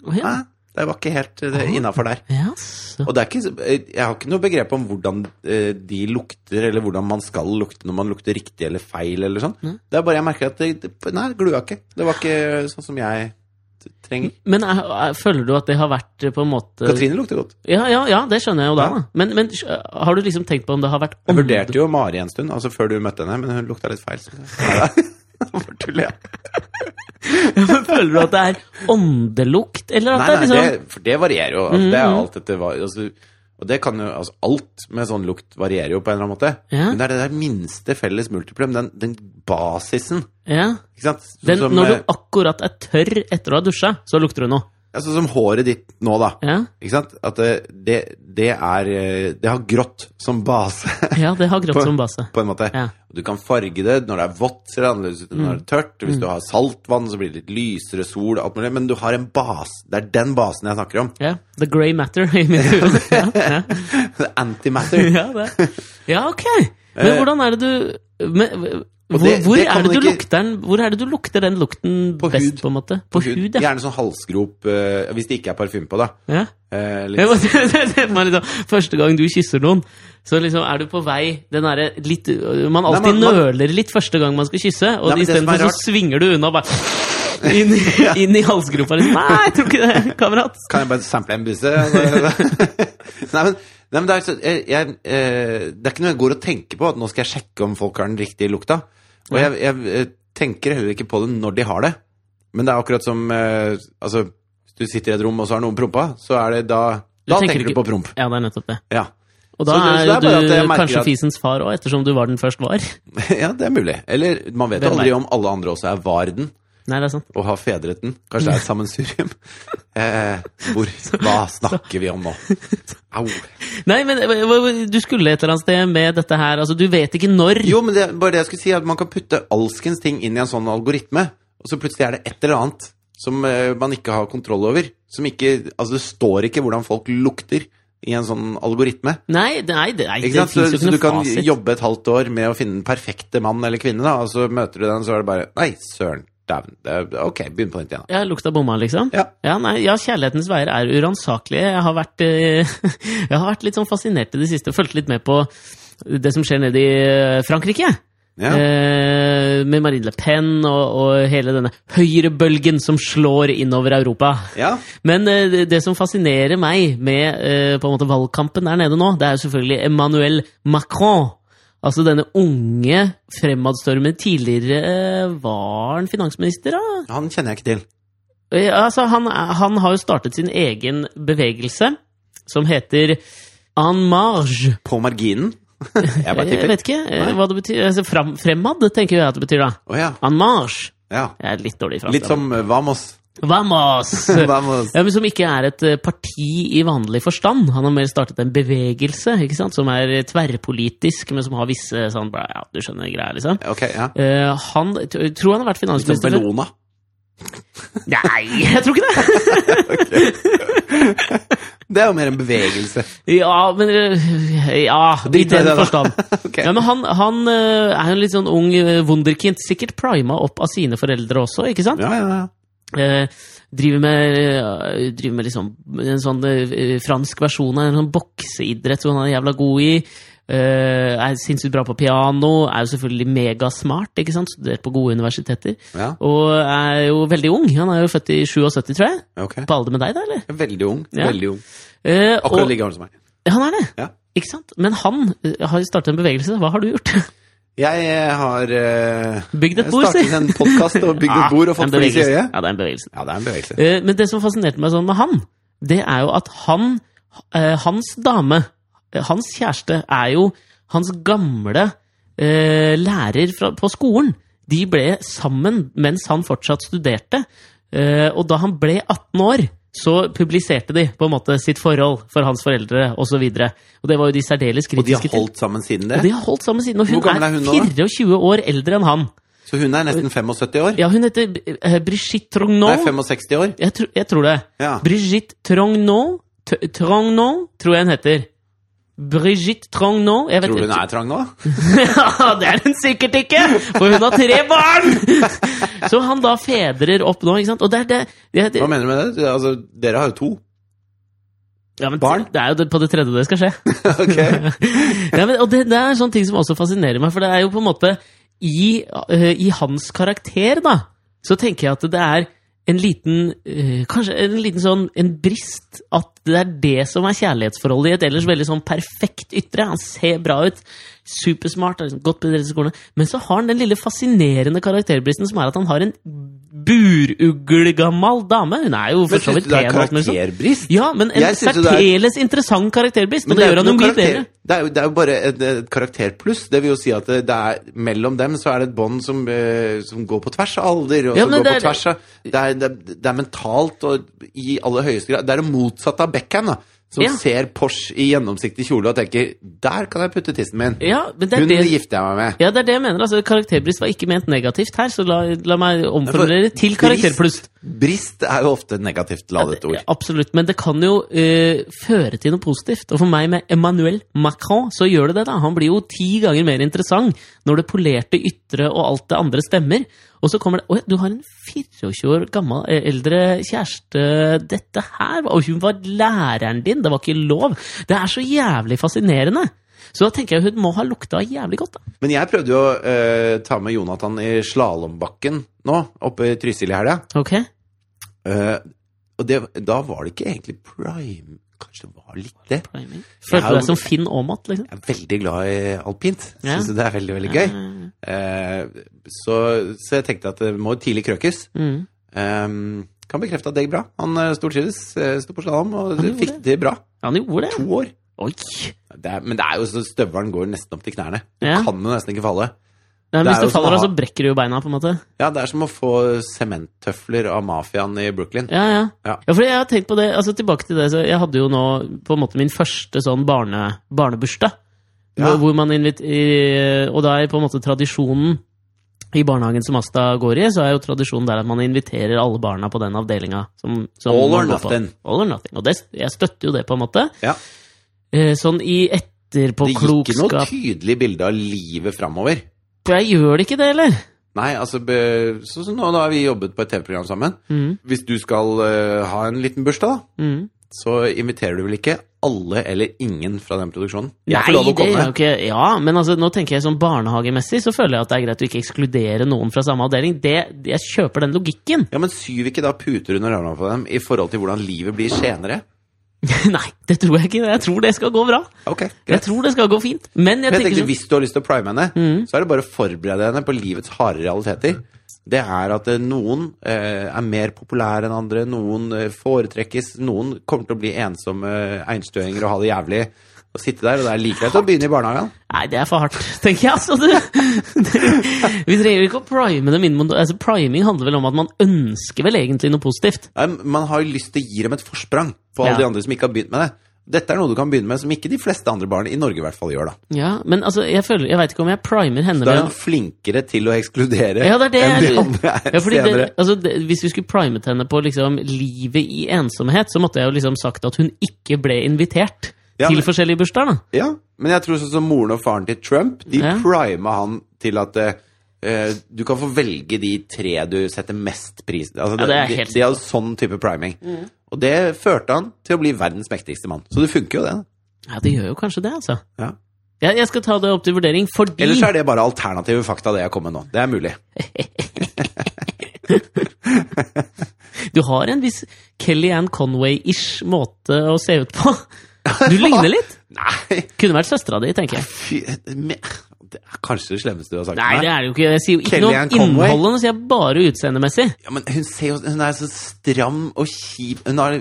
Speaker 1: Å, ja.
Speaker 2: nei, det var ikke helt uh, innafor der.
Speaker 1: Ja, så.
Speaker 2: Og det er ikke, så- eh, jeg har ikke noe begrep om hvordan eh, de lukter, eller hvordan man skal lukte når man lukter riktig eller feil eller sånn.
Speaker 1: Nei.
Speaker 2: Det er bare jeg merker at det, det, Nei, glua ikke. Det var ikke sånn som jeg t- trenger.
Speaker 1: Men er, er, føler du at det har vært eh, på en måte
Speaker 2: Katrine lukter godt.
Speaker 1: Ja, ja, ja, det skjønner jeg jo da.
Speaker 2: Ja.
Speaker 1: da. Men, men eh, har du liksom tenkt på om det har vært
Speaker 2: Jeg
Speaker 1: ånd-
Speaker 2: vurderte jo Mari en stund, altså før du møtte henne, men hun lukta litt feil. Så. Nei, Bare tuller jeg.
Speaker 1: Føler du at det er åndelukt, eller at
Speaker 2: Nei, nei,
Speaker 1: det er
Speaker 2: det,
Speaker 1: liksom Mm.
Speaker 2: for det varierer jo. Altså, det er alt etter hva altså, Og det kan jo altså, Alt med sånn lukt varierer jo på en eller annen måte.
Speaker 1: Ja.
Speaker 2: Men det er det der minste felles multiplum, den, den basisen.
Speaker 1: ja.
Speaker 2: Ikke sant? Sånn
Speaker 1: Den,
Speaker 2: som,
Speaker 1: Når
Speaker 2: eh,
Speaker 1: du akkurat er tørr etter å ha dusja, så lukter du noe.
Speaker 2: altså, som håret ditt nå, da.
Speaker 1: Ja,
Speaker 2: Ikke sant? At eh, det, det er eh, Det har grått som base,
Speaker 1: ja det har
Speaker 2: På-
Speaker 1: grått som base.
Speaker 2: på en måte.
Speaker 1: Ja. Mm.
Speaker 2: Og Du kan farge det når det er vått, ser det annerledes ut enn når det er tørt. Hvis du har saltvann, så blir det litt lysere sol, alt mulig. Men du har en base. Det er den basen jeg snakker om.
Speaker 1: Ja, The Grey Matter i mitt hode. Ja, ja.
Speaker 2: Antimatter.
Speaker 1: ja, det. ja, ok. Men
Speaker 2: Eh,
Speaker 1: hvordan er det du men, hvor,
Speaker 2: det-
Speaker 1: hvor,
Speaker 2: det kan
Speaker 1: er det
Speaker 2: man
Speaker 1: du
Speaker 2: ikke-
Speaker 1: lukter den, hvor er det du lukter den lukten
Speaker 2: På
Speaker 1: best,
Speaker 2: hud.
Speaker 1: på en måte? På, hud, ja.
Speaker 2: Gjerne sånn halsgrop, eh, hvis det ikke er parfyme på, da.
Speaker 1: ja.
Speaker 2: Eh, litt,
Speaker 1: Jeg bare- det er bare liksom, Første gang du kysser noen, så liksom er du på vei den derre litt Man alltid
Speaker 2: men man-
Speaker 1: nøler litt første gang man skal kysse, og
Speaker 2: Nei, men det som er
Speaker 1: istedenfor så svinger du unna bare inn, i- inn i halsgropa. Liksom. Nei, jeg tror ikke det, kamerat!
Speaker 2: kan jeg bare sample en buse? nei, men, nei, men det, er, så, jeg, jeg, eh, det er ikke noe jeg går og tenker på, at nå skal jeg sjekke om folk har den riktige lukta. Og jeg, jeg eh, tenker heller ikke på det når de har det. Men det er akkurat som eh, Altså, hvis du sitter i et rom, og så har noen prompa, så er det da Da
Speaker 1: tenker
Speaker 2: tenker, du
Speaker 1: ikke-
Speaker 2: på promp.
Speaker 1: Ja, det er nettopp det.
Speaker 2: Ja.
Speaker 1: Og da
Speaker 2: Så det- så
Speaker 1: er
Speaker 2: det er bare
Speaker 1: jo
Speaker 2: at
Speaker 1: du
Speaker 2: jeg merker
Speaker 1: kanskje
Speaker 2: at-
Speaker 1: fisens far òg, ettersom du var den først var.
Speaker 2: ja, det er mulig. Eller man vet jo
Speaker 1: Hvem
Speaker 2: aldri
Speaker 1: vet?
Speaker 2: om alle andre også er varden
Speaker 1: Nei, det er sant.
Speaker 2: og har fedret den. Kanskje det er et sammensurium. eh, hvor Hva snakker vi om nå? Au.
Speaker 1: Nei, men eh, hva- hva- du skulle et eller annet sted med dette her. Altså, du vet ikke når.
Speaker 2: Jo, men det, bare det jeg skulle si, er at man kan putte alskens ting inn i en sånn algoritme, og så plutselig er det et eller annet som eh, man ikke har kontroll over. Som ikke, altså det står ikke hvordan folk lukter i en sånn algoritme.
Speaker 1: Nei, det, nei, det, nei, det
Speaker 2: Ikke sant? Så,
Speaker 1: finnes jo
Speaker 2: så
Speaker 1: ikke
Speaker 2: du
Speaker 1: noe
Speaker 2: kan
Speaker 1: fasit.
Speaker 2: jobbe et halvt år med å finne den perfekte mann eller kvinne, da, og så møter du den, så er det bare Nei, søren, dæven. det er- Ok, begynn på nytt igjen. da.
Speaker 1: Ja, lukta bomma, liksom?
Speaker 2: Ja.
Speaker 1: nei, ja, kjærlighetens veier er uransakelige. Jeg har vært, eh, jeg har vært litt sånn fascinert i det siste. Fulgte litt med på det som skjer nede i eh, Frankrike.
Speaker 2: Ja.
Speaker 1: Eh, med Marine Le Pen og, og hele denne høyrebølgen som slår innover Europa.
Speaker 2: ja.
Speaker 1: Men eh, det- det som fascinerer meg med eh, på en måte valgkampen der nede nå, det er jo selvfølgelig Emmanuel Macron. Altså denne unge, fremadstormende Tidligere eh, var han finansminister, da?
Speaker 2: Han kjenner jeg ikke til.
Speaker 1: Eh, Altså, han, han har jo startet sin egen bevegelse, som heter En marge.
Speaker 2: På marginen? Jeg bare
Speaker 1: Jeg,
Speaker 2: tipper.
Speaker 1: vet ikke eh,
Speaker 2: Nei.
Speaker 1: hva det betyr. Altså, fram, fremad, tenker jeg at det betyr, da.
Speaker 2: Å ja.
Speaker 1: En marge.
Speaker 2: ja.
Speaker 1: Jeg er litt dårlig i fransk.
Speaker 2: Litt som eh, Vamos.
Speaker 1: Vamos!
Speaker 2: Vamos.
Speaker 1: Ja, men Som ikke er et eh, parti i vanlig forstand. Han har mer startet en bevegelse ikke sant? som er eh, tverrpolitisk, men som har visse sånn bla, Ja, du skjønner greier, liksom.
Speaker 2: Ok, ja.
Speaker 1: Eh, han t- tror han har vært
Speaker 2: Som
Speaker 1: finansminister før.
Speaker 2: Bellona.
Speaker 1: Nei, jeg tror ikke det!
Speaker 2: Det er jo mer en bevegelse.
Speaker 1: Ja, men øh, Ja, i
Speaker 2: Drit i det,
Speaker 1: den
Speaker 2: da.
Speaker 1: forstand.
Speaker 2: Ok.
Speaker 1: ja, men han, han øh, er jo en litt sånn ung øh, wunderkind. Sikkert prima opp av sine foreldre også, ikke sant?
Speaker 2: Ja, ja, ja.
Speaker 1: Eh, driver med, eh, driver med liksom en sånn eh, fransk versjon av en sånn bokseidrett som han er jævla god i. Eh, er sinnssykt bra på piano, er jo selvfølgelig megasmart, ikke sant? studert på gode universiteter.
Speaker 2: ja.
Speaker 1: Og er jo veldig ung. Han er jo født i 77, tror jeg.
Speaker 2: Ok.
Speaker 1: På alder med deg, da, eller?
Speaker 2: Veldig ung.
Speaker 1: Ja.
Speaker 2: Veldig ung.
Speaker 1: Eh,
Speaker 2: Akkurat
Speaker 1: og-
Speaker 2: like gammel som meg.
Speaker 1: Han er det!
Speaker 2: Ja.
Speaker 1: Ikke sant? Men han eh, har startet en bevegelse. Hva har du gjort?
Speaker 2: Jeg eh, har eh,
Speaker 1: Bygd et
Speaker 2: jeg
Speaker 1: bord,
Speaker 2: startet en podkast og bygd et bord og
Speaker 1: en
Speaker 2: fått flis i
Speaker 1: bevegelse.
Speaker 2: øyet.
Speaker 1: Ja, det er en bevegelse.
Speaker 2: Ja, det er en bevegelse.
Speaker 1: Eh, Men det som fascinerte meg sånn med han, det er jo at han, eh, hans dame, eh, hans kjæreste, er jo hans gamle eh, lærer fra, på skolen. De ble sammen mens han fortsatt studerte. Eh, og da han ble 18 år, så publiserte de på en måte sitt forhold for hans foreldre osv. Og, så videre. og det var jo de særdeles
Speaker 2: Og de
Speaker 1: kritiske
Speaker 2: har
Speaker 1: til.
Speaker 2: holdt sammen siden
Speaker 1: Og de
Speaker 2: det.
Speaker 1: har holdt sammen siden. Og hun
Speaker 2: Hvor gammel
Speaker 1: er,
Speaker 2: er hun nå, da?
Speaker 1: 24 år eldre enn han.
Speaker 2: Så hun er nesten 75 år.
Speaker 1: Ja, hun heter eh, Brigitte
Speaker 2: Nei,
Speaker 1: Trognon.
Speaker 2: 65 år.
Speaker 1: Jeg, tr jeg tror det.
Speaker 2: Ja.
Speaker 1: Brigitte Trognon T- Trognon, tror jeg hun heter. Brigitte Trognon jeg vet
Speaker 2: Tror du hun
Speaker 1: ikke.
Speaker 2: er trang nå?
Speaker 1: ja, det er hun sikkert ikke! For hun har tre barn! Så han da fedrer opp nå, ikke sant? Og det er det, det, det
Speaker 2: Hva mener du med det? Altså, dere har jo to.
Speaker 1: ja, men
Speaker 2: barn?
Speaker 1: Det er jo det- på det tredje det skal skje.
Speaker 2: ok.
Speaker 1: ja, men, og det, det er sånne ting som også fascinerer meg, for det er jo på en måte i, eh, i hans karakter, da, så tenker jeg at det er en liten eh, Kanskje en liten sånn en brist at det er det som er kjærlighetsforholdet i et ellers veldig sånn perfekt ytre. Han ser bra ut, supersmart, er liksom godt bedrevet i skolen, men så har han den lille fascinerende karakterbristen som er at han har en buruglegammal dame. Hun er jo
Speaker 2: Men
Speaker 1: for så
Speaker 2: syns
Speaker 1: vidt
Speaker 2: du det
Speaker 1: pen. liksom.
Speaker 2: er
Speaker 1: og alt mulig sånt.
Speaker 2: karakterbrist?
Speaker 1: Ja, men en
Speaker 2: Jeg synes jo det er-
Speaker 1: særdeles interessant karakterbrist, og
Speaker 2: Men
Speaker 1: det,
Speaker 2: er
Speaker 1: gjør
Speaker 2: jo
Speaker 1: han jo
Speaker 2: ikke
Speaker 1: mye
Speaker 2: noe karakter.
Speaker 1: bedre.
Speaker 2: Det er jo, det er jo bare et, et karakterpluss. Det vil jo si at det, det er, mellom dem så er det et bånd som, eh, som går på tvers av alder. Og
Speaker 1: Ja,
Speaker 2: som
Speaker 1: men
Speaker 2: går
Speaker 1: det
Speaker 2: på
Speaker 1: er-
Speaker 2: tvers av, det, er, det, er- det er mentalt og i aller høyeste grad Det er det motsatte av Beckham, da. Som
Speaker 1: Ja.
Speaker 2: ser Porsche i gjennomsiktig kjole og tenker 'Der kan jeg putte tissen min'.
Speaker 1: Ja, men det er
Speaker 2: Hun
Speaker 1: det
Speaker 2: gifter jeg meg med.
Speaker 1: ja, det er det jeg mener. altså Karakterbrist var ikke ment negativt her, så la, la meg omformulere det til
Speaker 2: Brist-
Speaker 1: karakterpluss.
Speaker 2: Brist er jo ofte et negativt ladet ord.
Speaker 1: Absolutt, men det kan jo eh, føre til noe positivt. Og for meg med Emmanuel Macron, så gjør det det. da Han blir jo ti ganger mer interessant når det polerte ytre og alt det andre stemmer. Og så kommer det Å, du har en 24 år gammel eh, eldre kjæreste. Dette her Og hun var læreren din! Det var ikke lov! Det er så jævlig fascinerende! Så da tenker jeg hun må ha lukta jævlig godt, da.
Speaker 2: Men jeg prøvde jo å eh, ta med Jonathan i slalåmbakken nå, oppe i Trysil i helga.
Speaker 1: Ok?
Speaker 2: Eh, og det, da var det ikke egentlig prime. Kanskje det var litt det.
Speaker 1: Priming.
Speaker 2: Jeg
Speaker 1: Følte
Speaker 2: er
Speaker 1: du
Speaker 2: jo-
Speaker 1: deg som Finn Aamodt, liksom?
Speaker 2: Jeg er veldig glad i alpint.
Speaker 1: Ja.
Speaker 2: Syns det er veldig, veldig gøy.
Speaker 1: Mm.
Speaker 2: Eh, så, så jeg tenkte at det må tidlig krøkes.
Speaker 1: Mm.
Speaker 2: Eh, kan bekrefte at det gikk bra. Han eh, stortrives, eh, sto på slalåm og
Speaker 1: Han gjorde
Speaker 2: fikk det bra.
Speaker 1: Han gjorde det!
Speaker 2: To år.
Speaker 1: Oi!
Speaker 2: Det er, men det er jo så støvelen går nesten opp til knærne. Du
Speaker 1: Ja.
Speaker 2: kan jo nesten ikke falle.
Speaker 1: Nei, men
Speaker 2: Det er
Speaker 1: hvis
Speaker 2: jo
Speaker 1: du faller av,
Speaker 2: sånn-
Speaker 1: så brekker du jo beina, på en måte.
Speaker 2: Ja, det er som å få sementtøfler av mafiaen i Brooklyn.
Speaker 1: Ja, ja.
Speaker 2: Ja.
Speaker 1: ja. for jeg har tenkt på det, altså tilbake til det, så jeg hadde jo nå på en måte min første sånn barne, barnebursdag,
Speaker 2: Ja.
Speaker 1: hvor, hvor man invit... i- Og da er på en måte tradisjonen I barnehagen som Asta går i, så er jo tradisjonen der at man inviterer alle barna på den avdelinga. Som, som
Speaker 2: All or
Speaker 1: man går på.
Speaker 2: nothing.
Speaker 1: All or nothing. Og det, jeg støtter jo det, på en måte.
Speaker 2: Ja.
Speaker 1: Eh, Sånn i
Speaker 2: Det gikk ikke noe
Speaker 1: etterpåklokskap
Speaker 2: tydelig bilde av livet framover.
Speaker 1: Jeg gjør det ikke det, eller?
Speaker 2: Nei, altså, be- sånn som nå, da har vi jobbet på et TV-program sammen.
Speaker 1: Mm,
Speaker 2: Hvis du skal eh, ha en liten bursdag, da,
Speaker 1: mm.
Speaker 2: så inviterer du vel ikke alle eller ingen fra den produksjonen? Jeg får
Speaker 1: Nei,
Speaker 2: lov å
Speaker 1: det
Speaker 2: komme.
Speaker 1: er jo ikke Ja, men altså, nå tenker jeg sånn barnehagemessig, så føler jeg at det er greit å ikke ekskludere noen fra samme avdeling. Det, jeg kjøper den logikken.
Speaker 2: Ja, men syv ikke da puter under armene på dem i forhold til hvordan livet blir senere?
Speaker 1: Nei, det tror jeg ikke. Jeg tror det skal gå bra.
Speaker 2: Ok,
Speaker 1: Jeg
Speaker 2: greit.
Speaker 1: tror det skal gå fint. Men jeg
Speaker 2: Jeg
Speaker 1: tenker
Speaker 2: tenkte,
Speaker 1: sånn
Speaker 2: hvis du har lyst til å prime henne,
Speaker 1: Mm.
Speaker 2: så er det bare å forberede henne på livets harde realiteter. Det er at eh, noen eh, er mer populære enn andre, noen eh, foretrekkes, noen kommer til å bli ensomme eh, einstøinger og ha det jævlig. Å sitte der, og det er like greit å begynne i barnehagen.
Speaker 1: Nei, det er for hardt, tenker jeg. Altså, du, det, vi trenger ikke å prime dem inn mot altså, Priming handler vel om at man ønsker vel egentlig noe positivt.
Speaker 2: Nei, Man har jo lyst til å gi dem et forsprang på alle
Speaker 1: Ja.
Speaker 2: de andre som ikke har begynt med det. Dette er noe du kan begynne med som ikke de fleste andre barn i Norge i hvert fall gjør, da.
Speaker 1: Ja, Men altså, jeg, føler- jeg veit ikke om jeg primer henne
Speaker 2: Da
Speaker 1: med
Speaker 2: er
Speaker 1: å-
Speaker 2: hun flinkere til å ekskludere
Speaker 1: Ja, det er det
Speaker 2: enn de
Speaker 1: jeg
Speaker 2: andre er
Speaker 1: Ja, fordi
Speaker 2: senere.
Speaker 1: det, altså, det, Hvis vi skulle primet henne på liksom, livet i ensomhet, så måtte jeg jo liksom sagt at hun ikke ble invitert
Speaker 2: Ja,
Speaker 1: til
Speaker 2: men-
Speaker 1: forskjellige bursdager. da.
Speaker 2: Ja, men jeg tror sånn som moren og faren til Trump, de
Speaker 1: Ja.
Speaker 2: prima han til at eh, eh, du kan få velge de tre du setter mest pris altså,
Speaker 1: Ja, det er
Speaker 2: de-
Speaker 1: helt
Speaker 2: De, de har sånn type priming. Og det førte han til å bli verdens mektigste mann. Så det funker jo, det. da.
Speaker 1: Ja, det gjør jo kanskje det, altså.
Speaker 2: Ja.
Speaker 1: Jeg, jeg skal ta det opp til vurdering, fordi
Speaker 2: Ellers er det bare alternative fakta, det jeg kom med nå. Det er mulig.
Speaker 1: du har en viss Kellyanne Conway-ish måte å se ut på. Du ligner litt.
Speaker 2: Nei,
Speaker 1: Kunne vært søstera di, tenker jeg.
Speaker 2: fy me- Det er kanskje det slemmeste du har sagt
Speaker 1: Nei,
Speaker 2: til
Speaker 1: det
Speaker 2: meg.
Speaker 1: er det jo ikke. Jeg sier jo ikke noe
Speaker 2: Kellyanne
Speaker 1: om
Speaker 2: Conway?
Speaker 1: innholdet, nå sier jeg bare utseendemessig.
Speaker 2: Ja, men hun, ser jo, hun er så stram og kjip. Hun har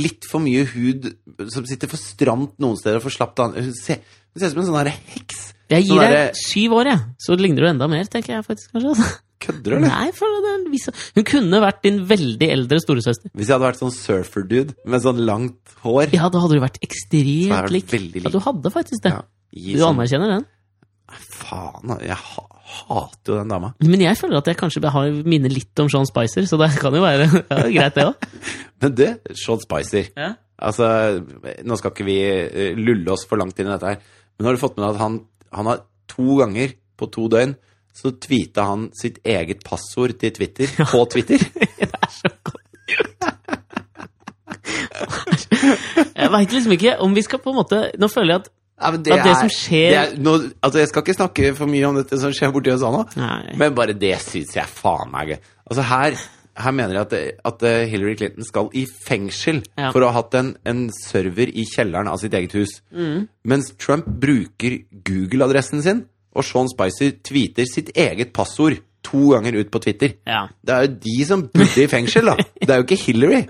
Speaker 2: litt for mye hud som sitter for stramt noen steder og for slapt andre. Hun ser hun ser ut som en sånn her heks.
Speaker 1: Jeg gir
Speaker 2: Sånn derre-
Speaker 1: deg syv år, jeg. Så ligner du enda mer, tenker jeg faktisk, kanskje. altså.
Speaker 2: Kødder du, eller?
Speaker 1: Nei, for det er en viss... Hun kunne vært din veldig eldre storesøster.
Speaker 2: Hvis jeg hadde vært sånn surfer-dude med sånn langt hår
Speaker 1: Ja, da hadde du vært
Speaker 2: Så hadde
Speaker 1: ekstremt
Speaker 2: jeg vært
Speaker 1: lik.
Speaker 2: veldig lik.
Speaker 1: Ja, du hadde faktisk det.
Speaker 2: Ja, i
Speaker 1: Du
Speaker 2: sånn,
Speaker 1: anerkjenner den.
Speaker 2: Faen, altså, jeg ha, hater jo den dama.
Speaker 1: Men jeg føler at jeg kanskje har minner litt om Sean Spicer, så det kan jo være ja, det er greit, det òg.
Speaker 2: Men du, Sean Spicer
Speaker 1: Ja.
Speaker 2: Altså, nå skal ikke vi eh, lulle oss for langt inn i dette her, men har du fått med deg at han, han har to ganger på to døgn så tweeta han sitt eget passord til Twitter på Twitter?
Speaker 1: Jeg veit liksom ikke om vi skal på en måte Nå føler jeg at
Speaker 2: Ja, men
Speaker 1: Ja, det som skjer-
Speaker 2: det er, nå, Altså, jeg skal ikke snakke for mye om dette som skjer borti hos han nå,
Speaker 1: Nei.
Speaker 2: Men bare det syns jeg faen meg er gøy. Altså her, her mener jeg at, at eh, Hillary Clinton skal i fengsel
Speaker 1: Ja.
Speaker 2: for å ha hatt en, en server i kjelleren av sitt eget hus.
Speaker 1: Mm.
Speaker 2: Mens Trump bruker Google-adressen sin, og Sean Spicer tweeter sitt eget passord to ganger ut på Twitter.
Speaker 1: Ja.
Speaker 2: Det er jo de som burde i fengsel, da. Det er jo ikke Hillary.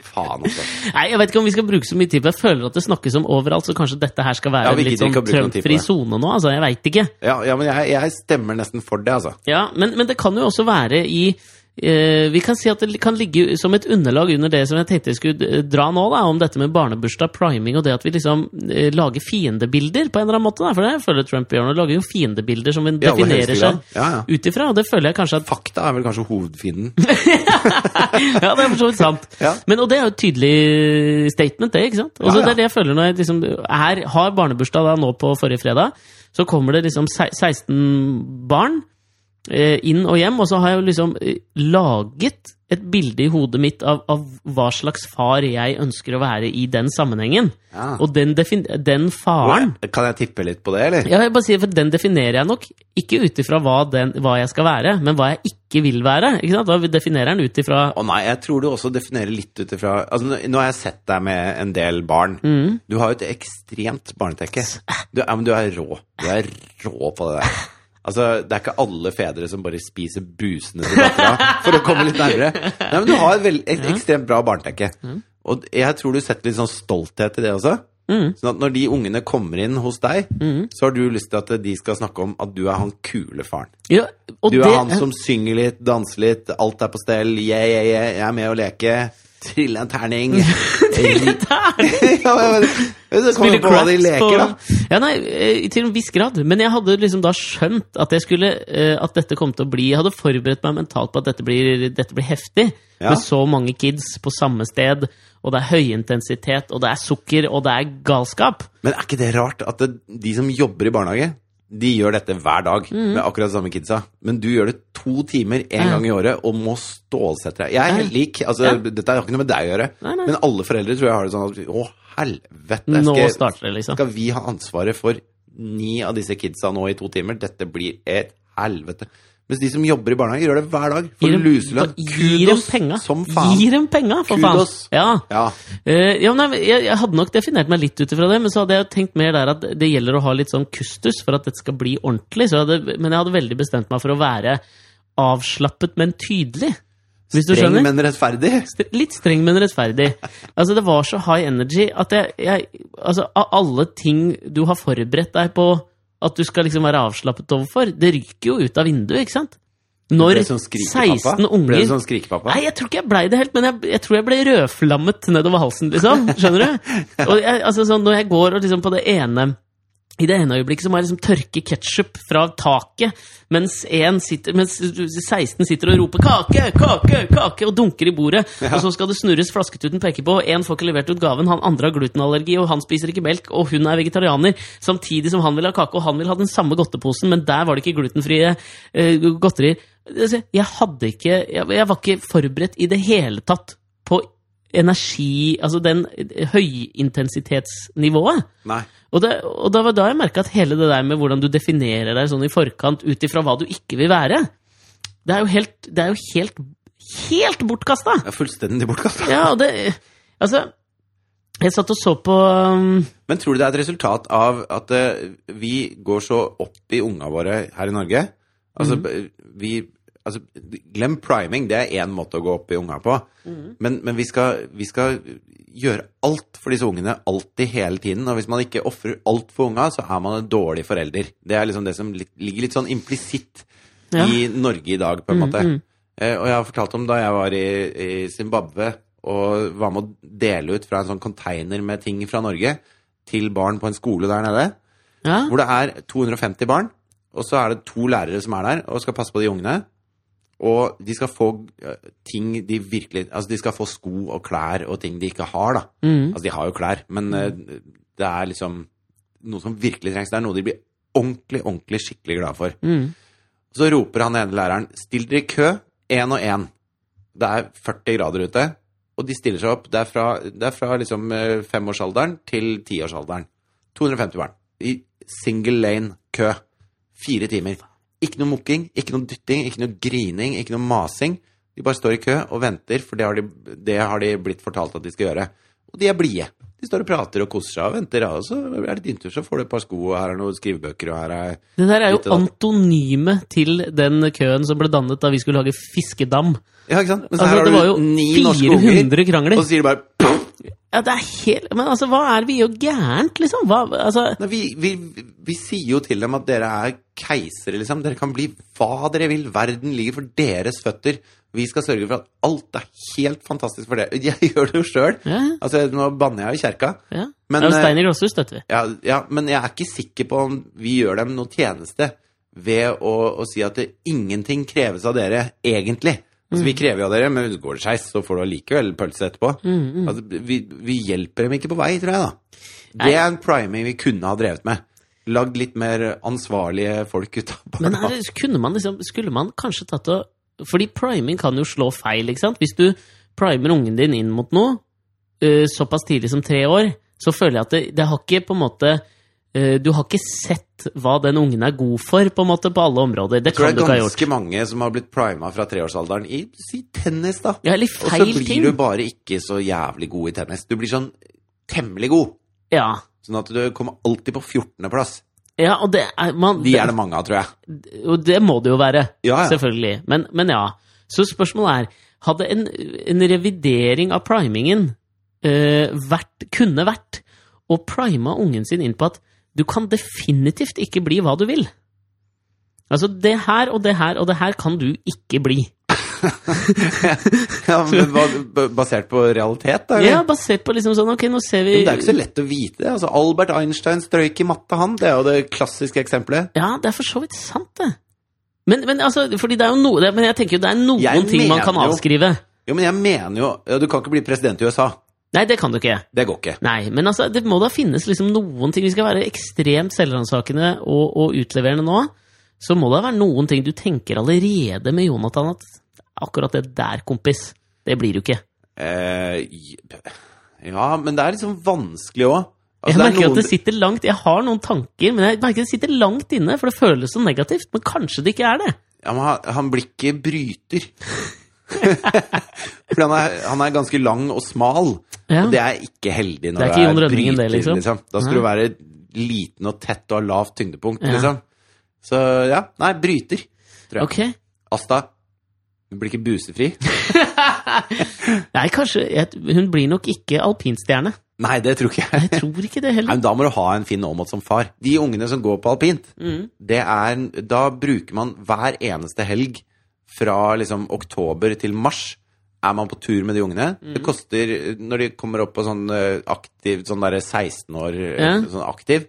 Speaker 2: Faen, altså.
Speaker 1: Nei, Jeg vet ikke om vi skal bruke så mye tid på det. Jeg føler at det snakkes om overalt, så kanskje dette her skal være
Speaker 2: Ja, vi
Speaker 1: en litt
Speaker 2: gidder
Speaker 1: sånn
Speaker 2: ikke å bruke noe tid på
Speaker 1: Trump-fri
Speaker 2: det.
Speaker 1: sone nå. Altså, jeg veit ikke.
Speaker 2: Ja, ja men jeg, jeg stemmer nesten for det, altså.
Speaker 1: Ja, men, men det kan jo også være i eh, vi kan si at det kan ligge som et underlag under det som jeg tenkte jeg skulle eh, dra nå, da, om dette med barnebursdag, priming og det at vi liksom eh, lager fiendebilder på en eller annen måte. Da, for det føler Trump gjør nå. Lager jo fiendebilder som en
Speaker 2: I aller
Speaker 1: definerer
Speaker 2: høyeste grad.
Speaker 1: seg
Speaker 2: Ja, ja.
Speaker 1: ut ifra, og det føler jeg kanskje at
Speaker 2: Fakta er vel kanskje hovedfienden.
Speaker 1: Ja, det er for så vidt sant.
Speaker 2: Ja.
Speaker 1: Men, og det er jo et tydelig statement, det. ikke sant? Og så
Speaker 2: Ja, ja.
Speaker 1: Det er det jeg føler når jeg liksom er, har barnebursdag da nå på forrige fredag. Så kommer det liksom se- 16 barn eh, inn og hjem, og så har jeg jo liksom eh, laget et bilde i hodet mitt av, av hva slags far jeg ønsker å være i den sammenhengen.
Speaker 2: Ja.
Speaker 1: Og den, defin den faren
Speaker 2: Kan jeg tippe litt på det, eller?
Speaker 1: ja, jeg bare sier, for Den definerer jeg nok ikke ut ifra hva, den- hva jeg skal være, men hva jeg ikke vil være. ikke sant? Da definerer den ut ifra
Speaker 2: Å nei, jeg tror du også definerer litt ut ifra altså, nå- Nå har jeg sett deg med en del barn. Du har jo et ekstremt barnetekke. Du, ja, men du er rå. Du er rå på det der. Altså, Det er ikke alle fedre som bare spiser busene til dattera for å komme litt nærmere. Nei, men Du har et, veld, et ekstremt bra barnetekke. Og jeg tror du setter litt sånn stolthet i det også. Sånn at når de ungene kommer inn hos deg, så har du lyst til at de skal snakke om at du er han kule faren.
Speaker 1: Ja, og
Speaker 2: Du
Speaker 1: det,
Speaker 2: er han som synger litt, danser litt, alt er på stell, yeah, yeah, yeah, jeg er med å leke. Trilla en terning.
Speaker 1: Til en terning!
Speaker 2: ja, men, men, så kommer
Speaker 1: Spille
Speaker 2: vi på hva de
Speaker 1: craps
Speaker 2: leker, da.
Speaker 1: Ja, nei, eh, til en viss grad. Men jeg hadde liksom da skjønt at jeg skulle eh, At dette kom til å bli Jeg hadde forberedt meg mentalt på at dette blir, dette blir heftig.
Speaker 2: Ja.
Speaker 1: Med så mange kids på samme sted, og det er høyintensitet, og det er sukker, og det er galskap.
Speaker 2: Men er ikke det rart at det, de som jobber i barnehage, de gjør dette hver dag med akkurat de samme kidsa. Men du gjør det to timer en
Speaker 1: Mhm. Ja.
Speaker 2: gang i året og må stålsette deg. Jeg er helt lik. Altså,
Speaker 1: Ja.
Speaker 2: Dette har ikke noe med deg å gjøre.
Speaker 1: Nei, nei.
Speaker 2: Men alle foreldre tror jeg har det sånn at å, helvete.
Speaker 1: Nå
Speaker 2: skal-
Speaker 1: starter det, liksom.
Speaker 2: Skal vi ha ansvaret for ni av disse kidsa nå i to timer? Dette blir et helvete. Mens de som jobber i barnehage, gjør det hver dag.
Speaker 1: Gir
Speaker 2: For
Speaker 1: dem-
Speaker 2: luselønn.
Speaker 1: gir dem penga.
Speaker 2: Kudos som faen.
Speaker 1: Gir dem penga, for
Speaker 2: Kudos.
Speaker 1: faen! Ja.
Speaker 2: Ja.
Speaker 1: Eh, ja, men jeg, jeg- jeg hadde nok definert meg litt ut ifra det, men så hadde jeg tenkt mer der at det gjelder å ha litt sånn kustus for at dette skal bli ordentlig. Så jeg hadde, men jeg hadde veldig bestemt meg for å være avslappet, men tydelig. Hvis du
Speaker 2: Streng,
Speaker 1: skjønner?
Speaker 2: men rettferdig.
Speaker 1: Stre- Litt streng, men rettferdig. Altså, det var så high energy at jeg, jeg Altså, av alle ting du har forberedt deg på at du skal liksom være avslappet overfor, det ryker jo ut av vinduet, ikke sant? Når
Speaker 2: Ble det sånn skrikepappa?
Speaker 1: 16
Speaker 2: Ble
Speaker 1: unger
Speaker 2: det sånn skrikepappa?
Speaker 1: Nei, jeg tror ikke jeg blei det helt, men jeg, jeg tror jeg ble rødflammet nedover halsen, liksom. Skjønner du? Og jeg, altså, sånn, når jeg går og liksom på det ene I det ene øyeblikket så må jeg liksom tørke ketsjup fra taket, mens, en sitter, mens 16 sitter og roper 'kake, kake, kake' og dunker i bordet. Og så skal det snurres flasketuten peker på, én får ikke levert ut gaven, han andre har glutenallergi, og han spiser ikke melk, og hun er vegetarianer, samtidig som han vil ha kake, og han vil ha den samme godteposen, men der var det ikke glutenfrie eh, godterier. Altså, Jeg hadde ikke jeg, jeg var ikke forberedt i det hele tatt på energi Altså den høyintensitetsnivået.
Speaker 2: Nei.
Speaker 1: Og det, og det var da jeg merka at hele det der med hvordan du definerer deg sånn i forkant ut ifra hva du ikke vil være, det er jo helt, det er jo helt, helt bortkasta!
Speaker 2: Jeg er fullstendig bortkasta.
Speaker 1: Ja, og det Altså, jeg satt og så på um,
Speaker 2: Men tror du det er et resultat av at eh, vi går så opp i unga våre her i Norge? Altså, vi, altså Glem priming, det er én måte å gå opp i unga på. Men, men vi, skal, vi skal gjøre alt for disse ungene, alltid, hele tiden. Og hvis man ikke ofrer alt for unga, så er man en dårlig forelder. Det er liksom det som litt, ligger litt sånn implisitt
Speaker 1: Ja.
Speaker 2: i Norge i dag, på en måte.
Speaker 1: Mm,
Speaker 2: Eh, og jeg har fortalt om da jeg var i, i Zimbabwe og var med å dele ut fra en sånn container med ting fra Norge til barn på en skole der nede,
Speaker 1: Ja,
Speaker 2: hvor det er 250 barn, og så er det to lærere som er der og skal passe på de ungene. Og de skal få eh, ting de virkelig Altså, de skal få sko og klær og ting de ikke har, da.
Speaker 1: mm,
Speaker 2: Altså, de har jo klær, men eh, det er liksom noe som virkelig trengs. Det er noe de blir ordentlig, ordentlig skikkelig glad for.
Speaker 1: mm,
Speaker 2: Så roper han ene læreren, still dere i kø, én og én. Det er 40 grader ute, og de stiller seg opp. Det er fra, det er fra liksom eh, femårsalderen til tiårsalderen. 250 barn. I single lane kø. Fire timer. Ikke noe mukking, ikke noe dytting, ikke noe grining, ikke noe masing. De bare står i kø og venter, for det har de, det har de blitt fortalt at de skal gjøre. Og de er blide. De står og prater og koser seg og venter, og så er det din tur, så får du et par sko, og her er noen skrivebøker, og her er
Speaker 1: Det der er jo
Speaker 2: Litt av det.
Speaker 1: antonyme til den køen som ble dannet da vi skulle lage fiskedam.
Speaker 2: Ja, ikke sant? Men så
Speaker 1: Altså, det
Speaker 2: her
Speaker 1: var
Speaker 2: har
Speaker 1: jo
Speaker 2: du ni norske unger,
Speaker 1: 400 krangler.
Speaker 2: og så sier de bare «Pff!»
Speaker 1: Ja, det er helt Men altså, hva er vi gjør gærent, liksom? Hva, altså,
Speaker 2: Nei, vi, vi, vi sier jo til dem at dere er keisere, liksom. Dere kan bli hva dere vil. Verden ligger for deres føtter. Vi skal sørge for at alt er helt fantastisk for dere. Jeg gjør det jo sjøl.
Speaker 1: ja,
Speaker 2: Altså, nå banner jeg jo i kjerka.
Speaker 1: ja.
Speaker 2: Men,
Speaker 1: det er jo
Speaker 2: eh,
Speaker 1: Steiner Grosshus, dette vi.
Speaker 2: Ja, ja, men jeg er ikke sikker på om vi gjør dem noe tjeneste ved å, å si at det, ingenting kreves av dere, egentlig. Altså,
Speaker 1: Mm.
Speaker 2: Vi krever jo av dere, men går det skeis, så får du allikevel pølse etterpå.
Speaker 1: Mm,
Speaker 2: Altså, vi, vi hjelper dem ikke på vei, tror jeg, da. Det er en priming vi kunne ha drevet med. Lagd litt mer ansvarlige folk ut av
Speaker 1: Men
Speaker 2: barna.
Speaker 1: er, det- kunne man liksom Skulle man kanskje tatt og Fordi priming kan jo slå feil, ikke sant? Hvis du primer ungen din inn mot noe eh, såpass tidlig som tre år, så føler jeg at det, det har ikke på en måte eh, Du har ikke sett hva den ungen er god for, på en måte, på alle områder. Det
Speaker 2: Jeg tror
Speaker 1: kan
Speaker 2: det
Speaker 1: du
Speaker 2: er
Speaker 1: ikke ha gjort.
Speaker 2: ganske mange som har blitt prima fra treårsalderen i si tennis, da.
Speaker 1: Ja, eller
Speaker 2: Og så
Speaker 1: feil
Speaker 2: blir
Speaker 1: ting.
Speaker 2: du bare ikke så jævlig god i tennis. Du blir sånn temmelig god.
Speaker 1: Ja.
Speaker 2: Sånn at du kommer alltid på 14. plass.
Speaker 1: ja, og det er man,
Speaker 2: De er det mange av, tror jeg.
Speaker 1: Og det må det jo være,
Speaker 2: Ja, ja.
Speaker 1: selvfølgelig. Men, men ja. Så spørsmålet er, hadde en, en revidering av primingen eh, vært, kunne vært å prime ungen sin inn på at du kan definitivt ikke bli hva du vil? Altså, det her og det her og det her kan du ikke bli.
Speaker 2: Ja, men hva- ba- Basert på realitet, da? eller?
Speaker 1: Ja, basert på liksom sånn Ok, nå ser vi
Speaker 2: Men det er jo ikke så lett å vite. det. Altså, Albert Einstein strøyk i matte, han. Det er jo det klassiske eksempelet.
Speaker 1: Ja, det er for så vidt sant, det. Men, men altså, fordi det er jo noe det- Men jeg tenker jo det er noen
Speaker 2: Jeg
Speaker 1: ting man
Speaker 2: mener
Speaker 1: kan
Speaker 2: jo-
Speaker 1: avskrive.
Speaker 2: Jo, men jeg mener jo ja, Du kan ikke bli president i USA.
Speaker 1: Nei, det kan du ikke.
Speaker 2: Det går ikke.
Speaker 1: Nei, men altså, det må da finnes liksom noen ting Vi skal være ekstremt selvransakende og, og utleverende nå. Så må det være noen ting du tenker allerede med Jonathan at akkurat det der, kompis, det blir du ikke.
Speaker 2: Eh, j- ja, men det er liksom vanskelig Altså, òg.
Speaker 1: Jeg merker at det sitter langt Jeg har noen tanker, men jeg merker det sitter langt inne, for det føles så negativt. Men kanskje det ikke er det.
Speaker 2: ja, men han, han blir ikke bryter. For han er, han er ganske lang og smal,
Speaker 1: Ja.
Speaker 2: og det er ikke heldig når
Speaker 1: Det er
Speaker 2: du
Speaker 1: ikke Jon
Speaker 2: er
Speaker 1: Rønningen
Speaker 2: bryter.
Speaker 1: det, liksom.
Speaker 2: Da skal du være liten og tett og ha lavt tyngdepunkt,
Speaker 1: Ja.
Speaker 2: liksom. Så ja, nei, bryter. Tror jeg.
Speaker 1: Ok.
Speaker 2: Asta, du blir ikke busefri?
Speaker 1: Nei, kanskje jeg, Hun blir nok ikke alpinstjerne.
Speaker 2: Nei, det tror ikke jeg.
Speaker 1: Jeg tror ikke det
Speaker 2: Nei,
Speaker 1: heller.
Speaker 2: men da må du ha en Finn Aamodt som far. De ungene som går på alpint,
Speaker 1: Mm.
Speaker 2: det er, da bruker man hver eneste helg fra liksom oktober til mars er man på tur med de ungene.
Speaker 1: Mm.
Speaker 2: Det koster, når de kommer opp på sånn eh, aktiv, sånn derre 16 år, eh,
Speaker 1: Ja.
Speaker 2: sånn aktiv,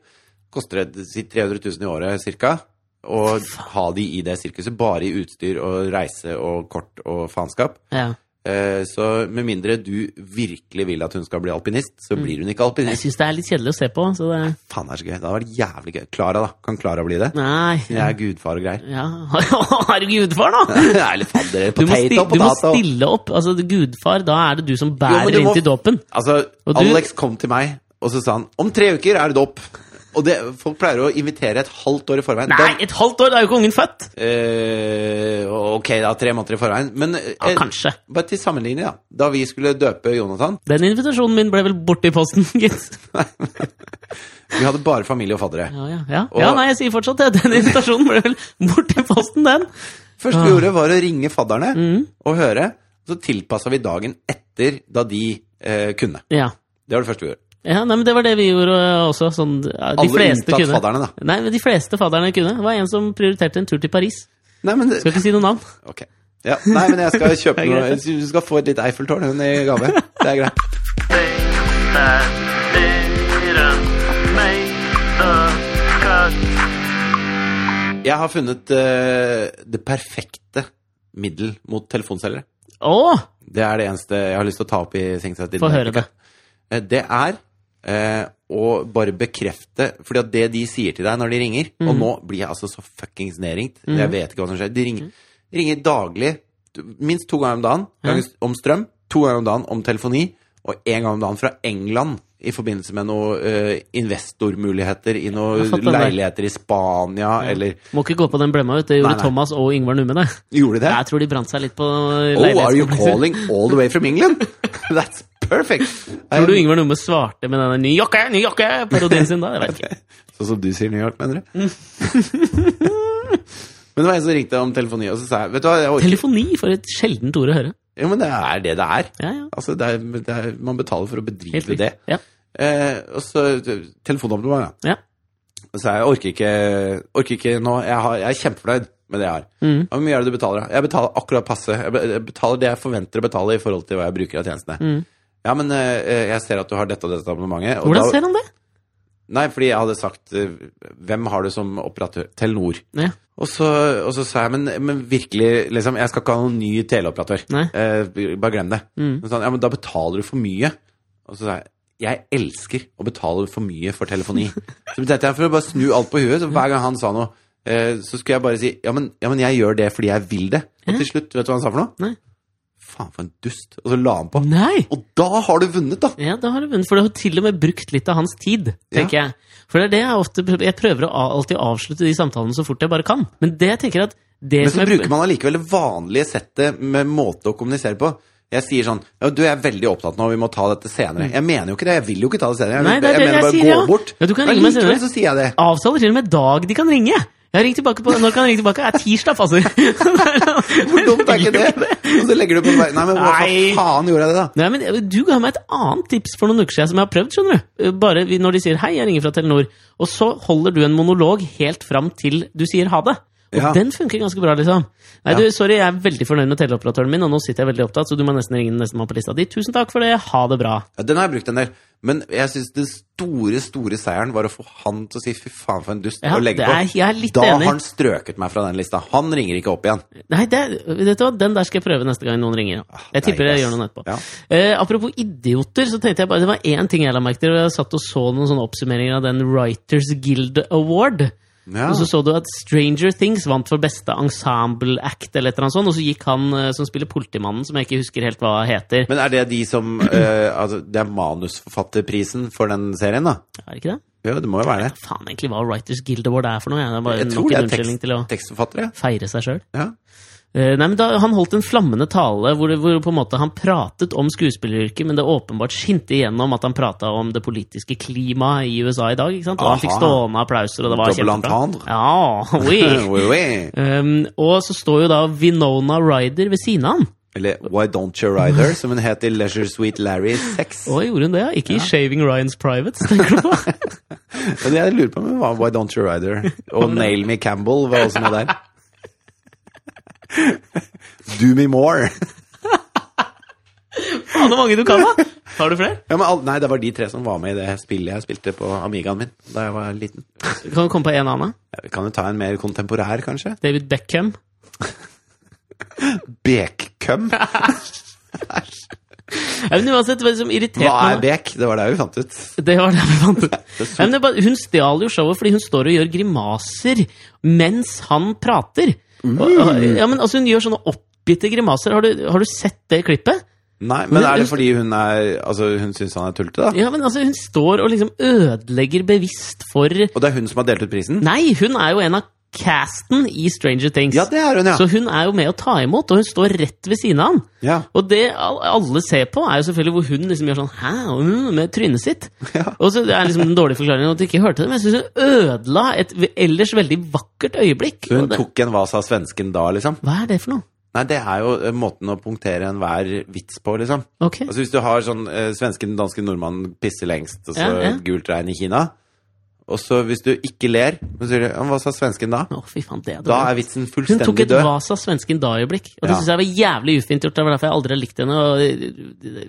Speaker 2: koster det si 300 000 i året cirka. Og ha de i det sirkuset, bare i utstyr og reise og kort og faenskap.
Speaker 1: Ja.
Speaker 2: Eh, Så med mindre du virkelig vil at hun skal bli alpinist, så
Speaker 1: Mm.
Speaker 2: blir hun
Speaker 1: Jeg
Speaker 2: ikke alpinist.
Speaker 1: syns det er litt kjedelig å se på. Så det
Speaker 2: Faen, det er så gøy. Det hadde vært jævlig gøy. Klara, da. Kan Klara bli det?
Speaker 1: Nei.
Speaker 2: Jeg er gudfar og greier.
Speaker 1: Ja. Har du gudfar, nå?
Speaker 2: Eller fadder.
Speaker 1: Du må, sti,
Speaker 2: Potato,
Speaker 1: du må
Speaker 2: potato.
Speaker 1: stille opp. Altså, gudfar, da er det du som
Speaker 2: Jo, men
Speaker 1: bærer
Speaker 2: du må-
Speaker 1: inn til dåpen.
Speaker 2: Altså,
Speaker 1: Og du-
Speaker 2: Alex kom til meg, og så sa han om tre uker er det dåp. Og det, folk pleier å invitere et halvt år i forveien.
Speaker 1: Nei, et halvt år! Da er jo ikke ungen født!
Speaker 2: Da- eh, ok, da. Tre måneder i forveien. Men eh,
Speaker 1: Ja, kanskje.
Speaker 2: bare til sammenligning, da. Da vi skulle døpe Jonathan,
Speaker 1: Den invitasjonen min ble vel borte i posten, gitt.
Speaker 2: vi hadde bare familie og faddere.
Speaker 1: Ja, ja, ja. ja, nei, jeg sier fortsatt det. Den invitasjonen ble vel borte i posten, den.
Speaker 2: Først
Speaker 1: Ah.
Speaker 2: vi gjorde var å ringe fadderne
Speaker 1: Mm.
Speaker 2: og høre. Så tilpassa vi dagen etter da de eh, kunne.
Speaker 1: Ja.
Speaker 2: Det var det første vi gjorde.
Speaker 1: ja. Nei, men det var det vi gjorde eh, også. Sånn, ja, de
Speaker 2: Alle
Speaker 1: fleste
Speaker 2: unntatt
Speaker 1: kunne.
Speaker 2: fadderne, da.
Speaker 1: Nei, men de fleste fadderne kunne. Det var en som prioriterte en tur til Paris.
Speaker 2: Nei, men det,
Speaker 1: Skal ikke si noe navn.
Speaker 2: Ok. Ja, nei, men jeg skal kjøpe
Speaker 1: Det er
Speaker 2: noe
Speaker 1: greit.
Speaker 2: Du skal få et litt Eiffeltårn hun, i gave. Det er greit.
Speaker 3: that didn't make the cut.
Speaker 2: Jeg har funnet eh, det perfekte middel mot telefonselgere.
Speaker 1: Å!
Speaker 2: Det er det eneste jeg har lyst til å ta opp i Singset.
Speaker 1: Få høre det.
Speaker 2: Eh, Det er eh, å bare bekrefte Fordi at det de sier til deg når de ringer
Speaker 1: Mm.
Speaker 2: Og nå blir jeg altså så fuckings nedringt. Jeg vet ikke hva som skjer. De
Speaker 1: Mm.
Speaker 2: ringer, ringer daglig t- minst to ganger om dagen ganger om strøm, to ganger om dagen om telefoni, og én gang om dagen fra England i forbindelse med noen investormuligheter i
Speaker 1: Jeg har
Speaker 2: noen
Speaker 1: fått den der.
Speaker 2: leiligheter i Spania, eller
Speaker 1: Må ikke gå på den blemma, ut. Det
Speaker 2: Nei,
Speaker 1: gjorde
Speaker 2: nei.
Speaker 1: Thomas og Yngvar Numme, det.
Speaker 2: Gjorde de det?
Speaker 1: Jeg tror de brant seg litt på
Speaker 2: Oh, are you
Speaker 1: leilighetskomplekser.
Speaker 2: calling all the way from England? That's perfect!
Speaker 1: Tror du Yngvar Numme svarte med denne 'ny jakke, ny jakke'-parodien sin da? Jeg vet ikke.
Speaker 2: Sånn som du sier New York, mener du? men det var en som ringte om telefoni, og så sa jeg Vet du hva, jeg orker
Speaker 1: Telefoni, for et sjeldent ord å høre.
Speaker 2: Jo, men det er det det er.
Speaker 1: Ja, ja.
Speaker 2: Altså, det er, det er man betaler for å
Speaker 1: Helt
Speaker 2: bedrive
Speaker 1: riktig.
Speaker 2: det.
Speaker 1: Ja.
Speaker 2: Eh, og så telefonabonnement, ja.
Speaker 1: ja.
Speaker 2: Og så sa jeg jeg orker ikke, orker ikke nå. Jeg, har, jeg er kjempefornøyd med det jeg har.
Speaker 1: Mhm.
Speaker 2: Hvor mye er det du betaler? da? Jeg betaler akkurat passe. Jeg be- jeg betaler det jeg forventer å betale i forhold til hva jeg bruker av tjenestene.
Speaker 1: Mhm.
Speaker 2: Ja, men eh, jeg ser at du har dette og dette abonnementet. Og
Speaker 1: Hvordan
Speaker 2: da-
Speaker 1: ser han det?
Speaker 2: Nei, fordi jeg hadde sagt eh, Hvem har du som operatør? Telenor.
Speaker 1: Ja.
Speaker 2: Og så, og så sa jeg, men, men virkelig, liksom, jeg skal ikke ha noen ny teleoperatør.
Speaker 1: Nei.
Speaker 2: Eh, bare glem det.
Speaker 1: Mm.
Speaker 2: Så sa han, ja, men da betaler du for mye. Og så sa jeg, jeg elsker å betale for mye for telefoni. så tenkte jeg, for å bare snu alt på huet, så hver gang han sa noe, eh, så skulle jeg bare si, ja men, ja, men jeg gjør det fordi jeg vil det. Og til slutt, vet du hva han sa for noe?
Speaker 1: Nei.
Speaker 2: Faen for en dust. Og så la han på.
Speaker 1: Nei!
Speaker 2: Og da har du vunnet da!
Speaker 1: Ja, da har du vunnet. For du har til og med brukt litt av hans tid, tenker jeg. For det er det jeg ofte Jeg prøver å a- alltid avslutte de samtalene så fort jeg bare kan. Men det jeg tenker at det
Speaker 2: Men
Speaker 1: som
Speaker 2: så
Speaker 1: jeg
Speaker 2: bruker man allikevel det vanlige settet med måte å kommunisere på. Jeg sier sånn ja, 'Du, jeg er veldig opptatt nå, vi må ta dette senere'. Jeg mener jo ikke det. Jeg vil jo ikke ta det senere. Jeg,
Speaker 1: Nei, det er det
Speaker 2: jeg mener
Speaker 1: jeg
Speaker 2: bare
Speaker 1: sier,
Speaker 2: gå
Speaker 1: ja.
Speaker 2: bort.
Speaker 1: Ja, du kan
Speaker 2: Men
Speaker 1: ringe meg
Speaker 2: likevel
Speaker 1: senere.
Speaker 2: så sier jeg det.
Speaker 1: Avtaler til og med dag de kan ringe! Jeg har ringt tilbake på Når kan jeg ringe tilbake? Er tirsdag, altså. passer! Hvor
Speaker 2: Hvor dumt er ikke det? Og så legger du på Nei, men hva
Speaker 1: Nei.
Speaker 2: faen gjorde jeg det, da?
Speaker 1: Nei, men eh, Du ga meg et annet tips for noen uker siden som jeg har prøvd. skjønner du Eh, Bare vi- når de sier 'hei, jeg ringer fra Telenor', og så holder du en monolog helt fram til du sier 'ha det'. Og
Speaker 2: Ja.
Speaker 1: den funker ganske bra, liksom. Nei,
Speaker 2: Ja.
Speaker 1: du, sorry, jeg er veldig fornøyd med teleoperatøren min, og nå sitter jeg veldig opptatt, så du må nesten ringe den neste mann på lista di. Tusen takk for det, ha det bra.
Speaker 2: Ja, den har jeg brukt en del. Men jeg syns den store store seieren var å få han til å si 'fy faen, for en dust'
Speaker 1: Ja,
Speaker 2: og legge
Speaker 1: det
Speaker 2: på.
Speaker 1: er- jeg er litt
Speaker 2: da
Speaker 1: enig.
Speaker 2: har han strøket meg fra den lista. Han ringer ikke opp igjen.
Speaker 1: Nei, det, er- vet du hva, den der skal jeg prøve neste gang noen ringer. Ja. Jeg
Speaker 2: deilig,
Speaker 1: tipper jeg
Speaker 2: Ah, ass.
Speaker 1: gjør noen etterpå.
Speaker 2: Ja.
Speaker 1: Eh, apropos idioter, så tenkte jeg bare, det var én ting jeg la merke til. og Jeg satt og så noen sånne oppsummeringer av den Writers Guild Award.
Speaker 2: Ja.
Speaker 1: Og så så du at Stranger Things vant for beste ensemble act, eller et eller annet sånt. Og så gikk han eh, som spiller politimannen, som jeg ikke husker helt hva heter.
Speaker 2: Men er det de som eh, altså, Det er manusforfatterprisen for den serien, da?
Speaker 1: er det ikke det?
Speaker 2: Jo, det må jo være det.
Speaker 1: Faen egentlig hva Writers Guild Award er for noe. Jeg. Det er bare
Speaker 2: Jeg tror
Speaker 1: nok
Speaker 2: det
Speaker 1: en
Speaker 2: er
Speaker 1: unnskyldning
Speaker 2: tekst,
Speaker 1: til å
Speaker 2: tekstforfattere.
Speaker 1: feire seg sjøl.
Speaker 2: Ja.
Speaker 1: Eh, Nei, men da, Han holdt en flammende tale hvor, det- hvor på en måte han pratet om skuespilleryrket, men det åpenbart skinte igjennom at han prata om det politiske klimaet i USA i dag. ikke sant? Og han
Speaker 2: Aha.
Speaker 1: fikk stående applauser, og det var
Speaker 2: Double
Speaker 1: kjempebra.
Speaker 2: entendre.
Speaker 1: Ja, oui.
Speaker 2: Oui, oui.
Speaker 1: um, og så står jo da Vinona Ryder ved siden av han.
Speaker 2: Eller Why Don't You Rider, som hun het i Leisure Sweet Larry 6.
Speaker 1: Og gjorde hun det, ja? Ikke i Shaving Ryan's Privates, tenker du på?
Speaker 2: Og det jeg lurer på, men hva Why Don't You Rider? Og Nail Me Campbell var også med der. Do Me More.
Speaker 1: Faen, så mange du kan, da! Har du flere?
Speaker 2: Ja, men all, nei, det var de tre som var med i det spillet jeg spilte på Amigaen min da jeg var liten.
Speaker 1: Kan du komme på en annen?
Speaker 2: Vi kan jo ta en mer kontemporær, kanskje.
Speaker 1: David Beckham.
Speaker 2: Bekkøm?
Speaker 1: Ja, men uansett, det var liksom irritert
Speaker 2: Hva
Speaker 1: meg,
Speaker 2: er
Speaker 1: da.
Speaker 2: bek? Det var det vi fant ut.
Speaker 1: Det var det vi fant ut.
Speaker 2: Det
Speaker 1: Nei, men det er bare- Hun stjal jo showet fordi hun står og gjør grimaser mens han prater. Og- og- Ja, men altså Hun gjør sånne oppgitte grimaser. Har du, har du sett det klippet?
Speaker 2: Nei, men er det fordi hun er Altså, hun syns han er tullete, da?
Speaker 1: Ja, men altså Hun står og liksom ødelegger bevisst for
Speaker 2: Og det er hun som har delt ut prisen?
Speaker 1: Nei, hun er jo en av casten i Stranger Things.
Speaker 2: Ja, det er hun, ja.
Speaker 1: Så hun er jo med å ta imot, og hun står rett ved siden av han.
Speaker 2: ja.
Speaker 1: Og det all- alle ser på, er jo selvfølgelig hvor hun liksom gjør sånn Hæ? Mm, med trynet sitt.
Speaker 2: Ja.
Speaker 1: Og så det er liksom den dårlige forklaringen at du ikke hørte det, men jeg syns hun ødela et v- ellers veldig vakkert øyeblikk.
Speaker 2: Så hun
Speaker 1: Og det,
Speaker 2: tok en Vasa svensken da, liksom?
Speaker 1: hva er det for noe?
Speaker 2: Nei, det er jo eh, måten å punktere enhver vits på, liksom.
Speaker 1: Ok.
Speaker 2: Altså Hvis du har sånn eh, svensken, dansken, nordmannen pisser lengst, og så
Speaker 1: Ja, ja.
Speaker 2: et gult regn i Kina Og så hvis du ikke ler, så sier du ja, 'Hva sa svensken da?'
Speaker 1: Å, fy faen, det er
Speaker 2: Da
Speaker 1: dårlig.
Speaker 2: er vitsen
Speaker 1: Hun tok
Speaker 2: fullstendig
Speaker 1: et
Speaker 2: død.
Speaker 1: Vasa svensken da-øyeblikk, og det
Speaker 2: Ja.
Speaker 1: synes syns jeg var jævlig ufint gjort. Det var derfor jeg aldri har likt henne. Og, eh, eh,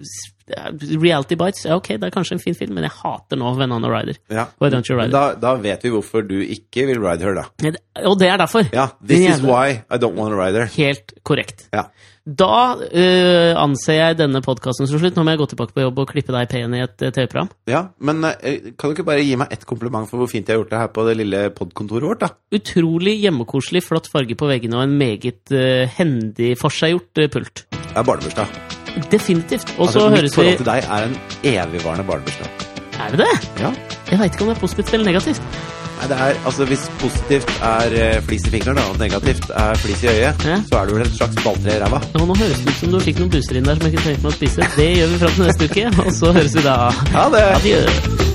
Speaker 1: Reality Bites, ja ok, det er kanskje en fin film, men jeg hater nå Venona Ryder.
Speaker 2: Ja.
Speaker 1: Why don't you ride
Speaker 2: Da, da vet vi hvorfor du ikke vil ride her, da.
Speaker 1: it? Og det er derfor.
Speaker 2: Ja, This
Speaker 1: Din
Speaker 2: is
Speaker 1: jævla-
Speaker 2: why I don't want to ride her.
Speaker 1: Helt korrekt.
Speaker 2: Ja.
Speaker 1: Da eh, anser jeg denne podkasten som slutt. Nå må jeg gå tilbake på jobb og klippe deg pen i et eh, TV-program.
Speaker 2: ja, Men eh, kan du ikke bare gi meg ett kompliment for hvor fint jeg har gjort det her på det lille podkontoret vårt, da?
Speaker 1: Utrolig hjemmekoselig, flott farge på veggene og en meget eh, hendig, forseggjort eh, pult.
Speaker 2: Det er barnebursdag.
Speaker 1: Definitivt. Og så
Speaker 2: Altså, mitt
Speaker 1: høres vi
Speaker 2: forhold til deg er en evigvarende barnebursdag.
Speaker 1: Er det det?
Speaker 2: Ja.
Speaker 1: Jeg veit ikke om det er positivt eller negativt.
Speaker 2: Nei, det er, altså Hvis positivt er eh, flis i fingeren, da, og negativt er flis i øyet,
Speaker 1: Ja.
Speaker 2: så er det vel et slags balltre i ræva.
Speaker 1: Og nå høres det ut som du fikk noen buser inn der som jeg ikke tenkte meg å spise. Det gjør vi fram til neste uke, og så høres vi da.
Speaker 2: Ha det!
Speaker 1: Adjø.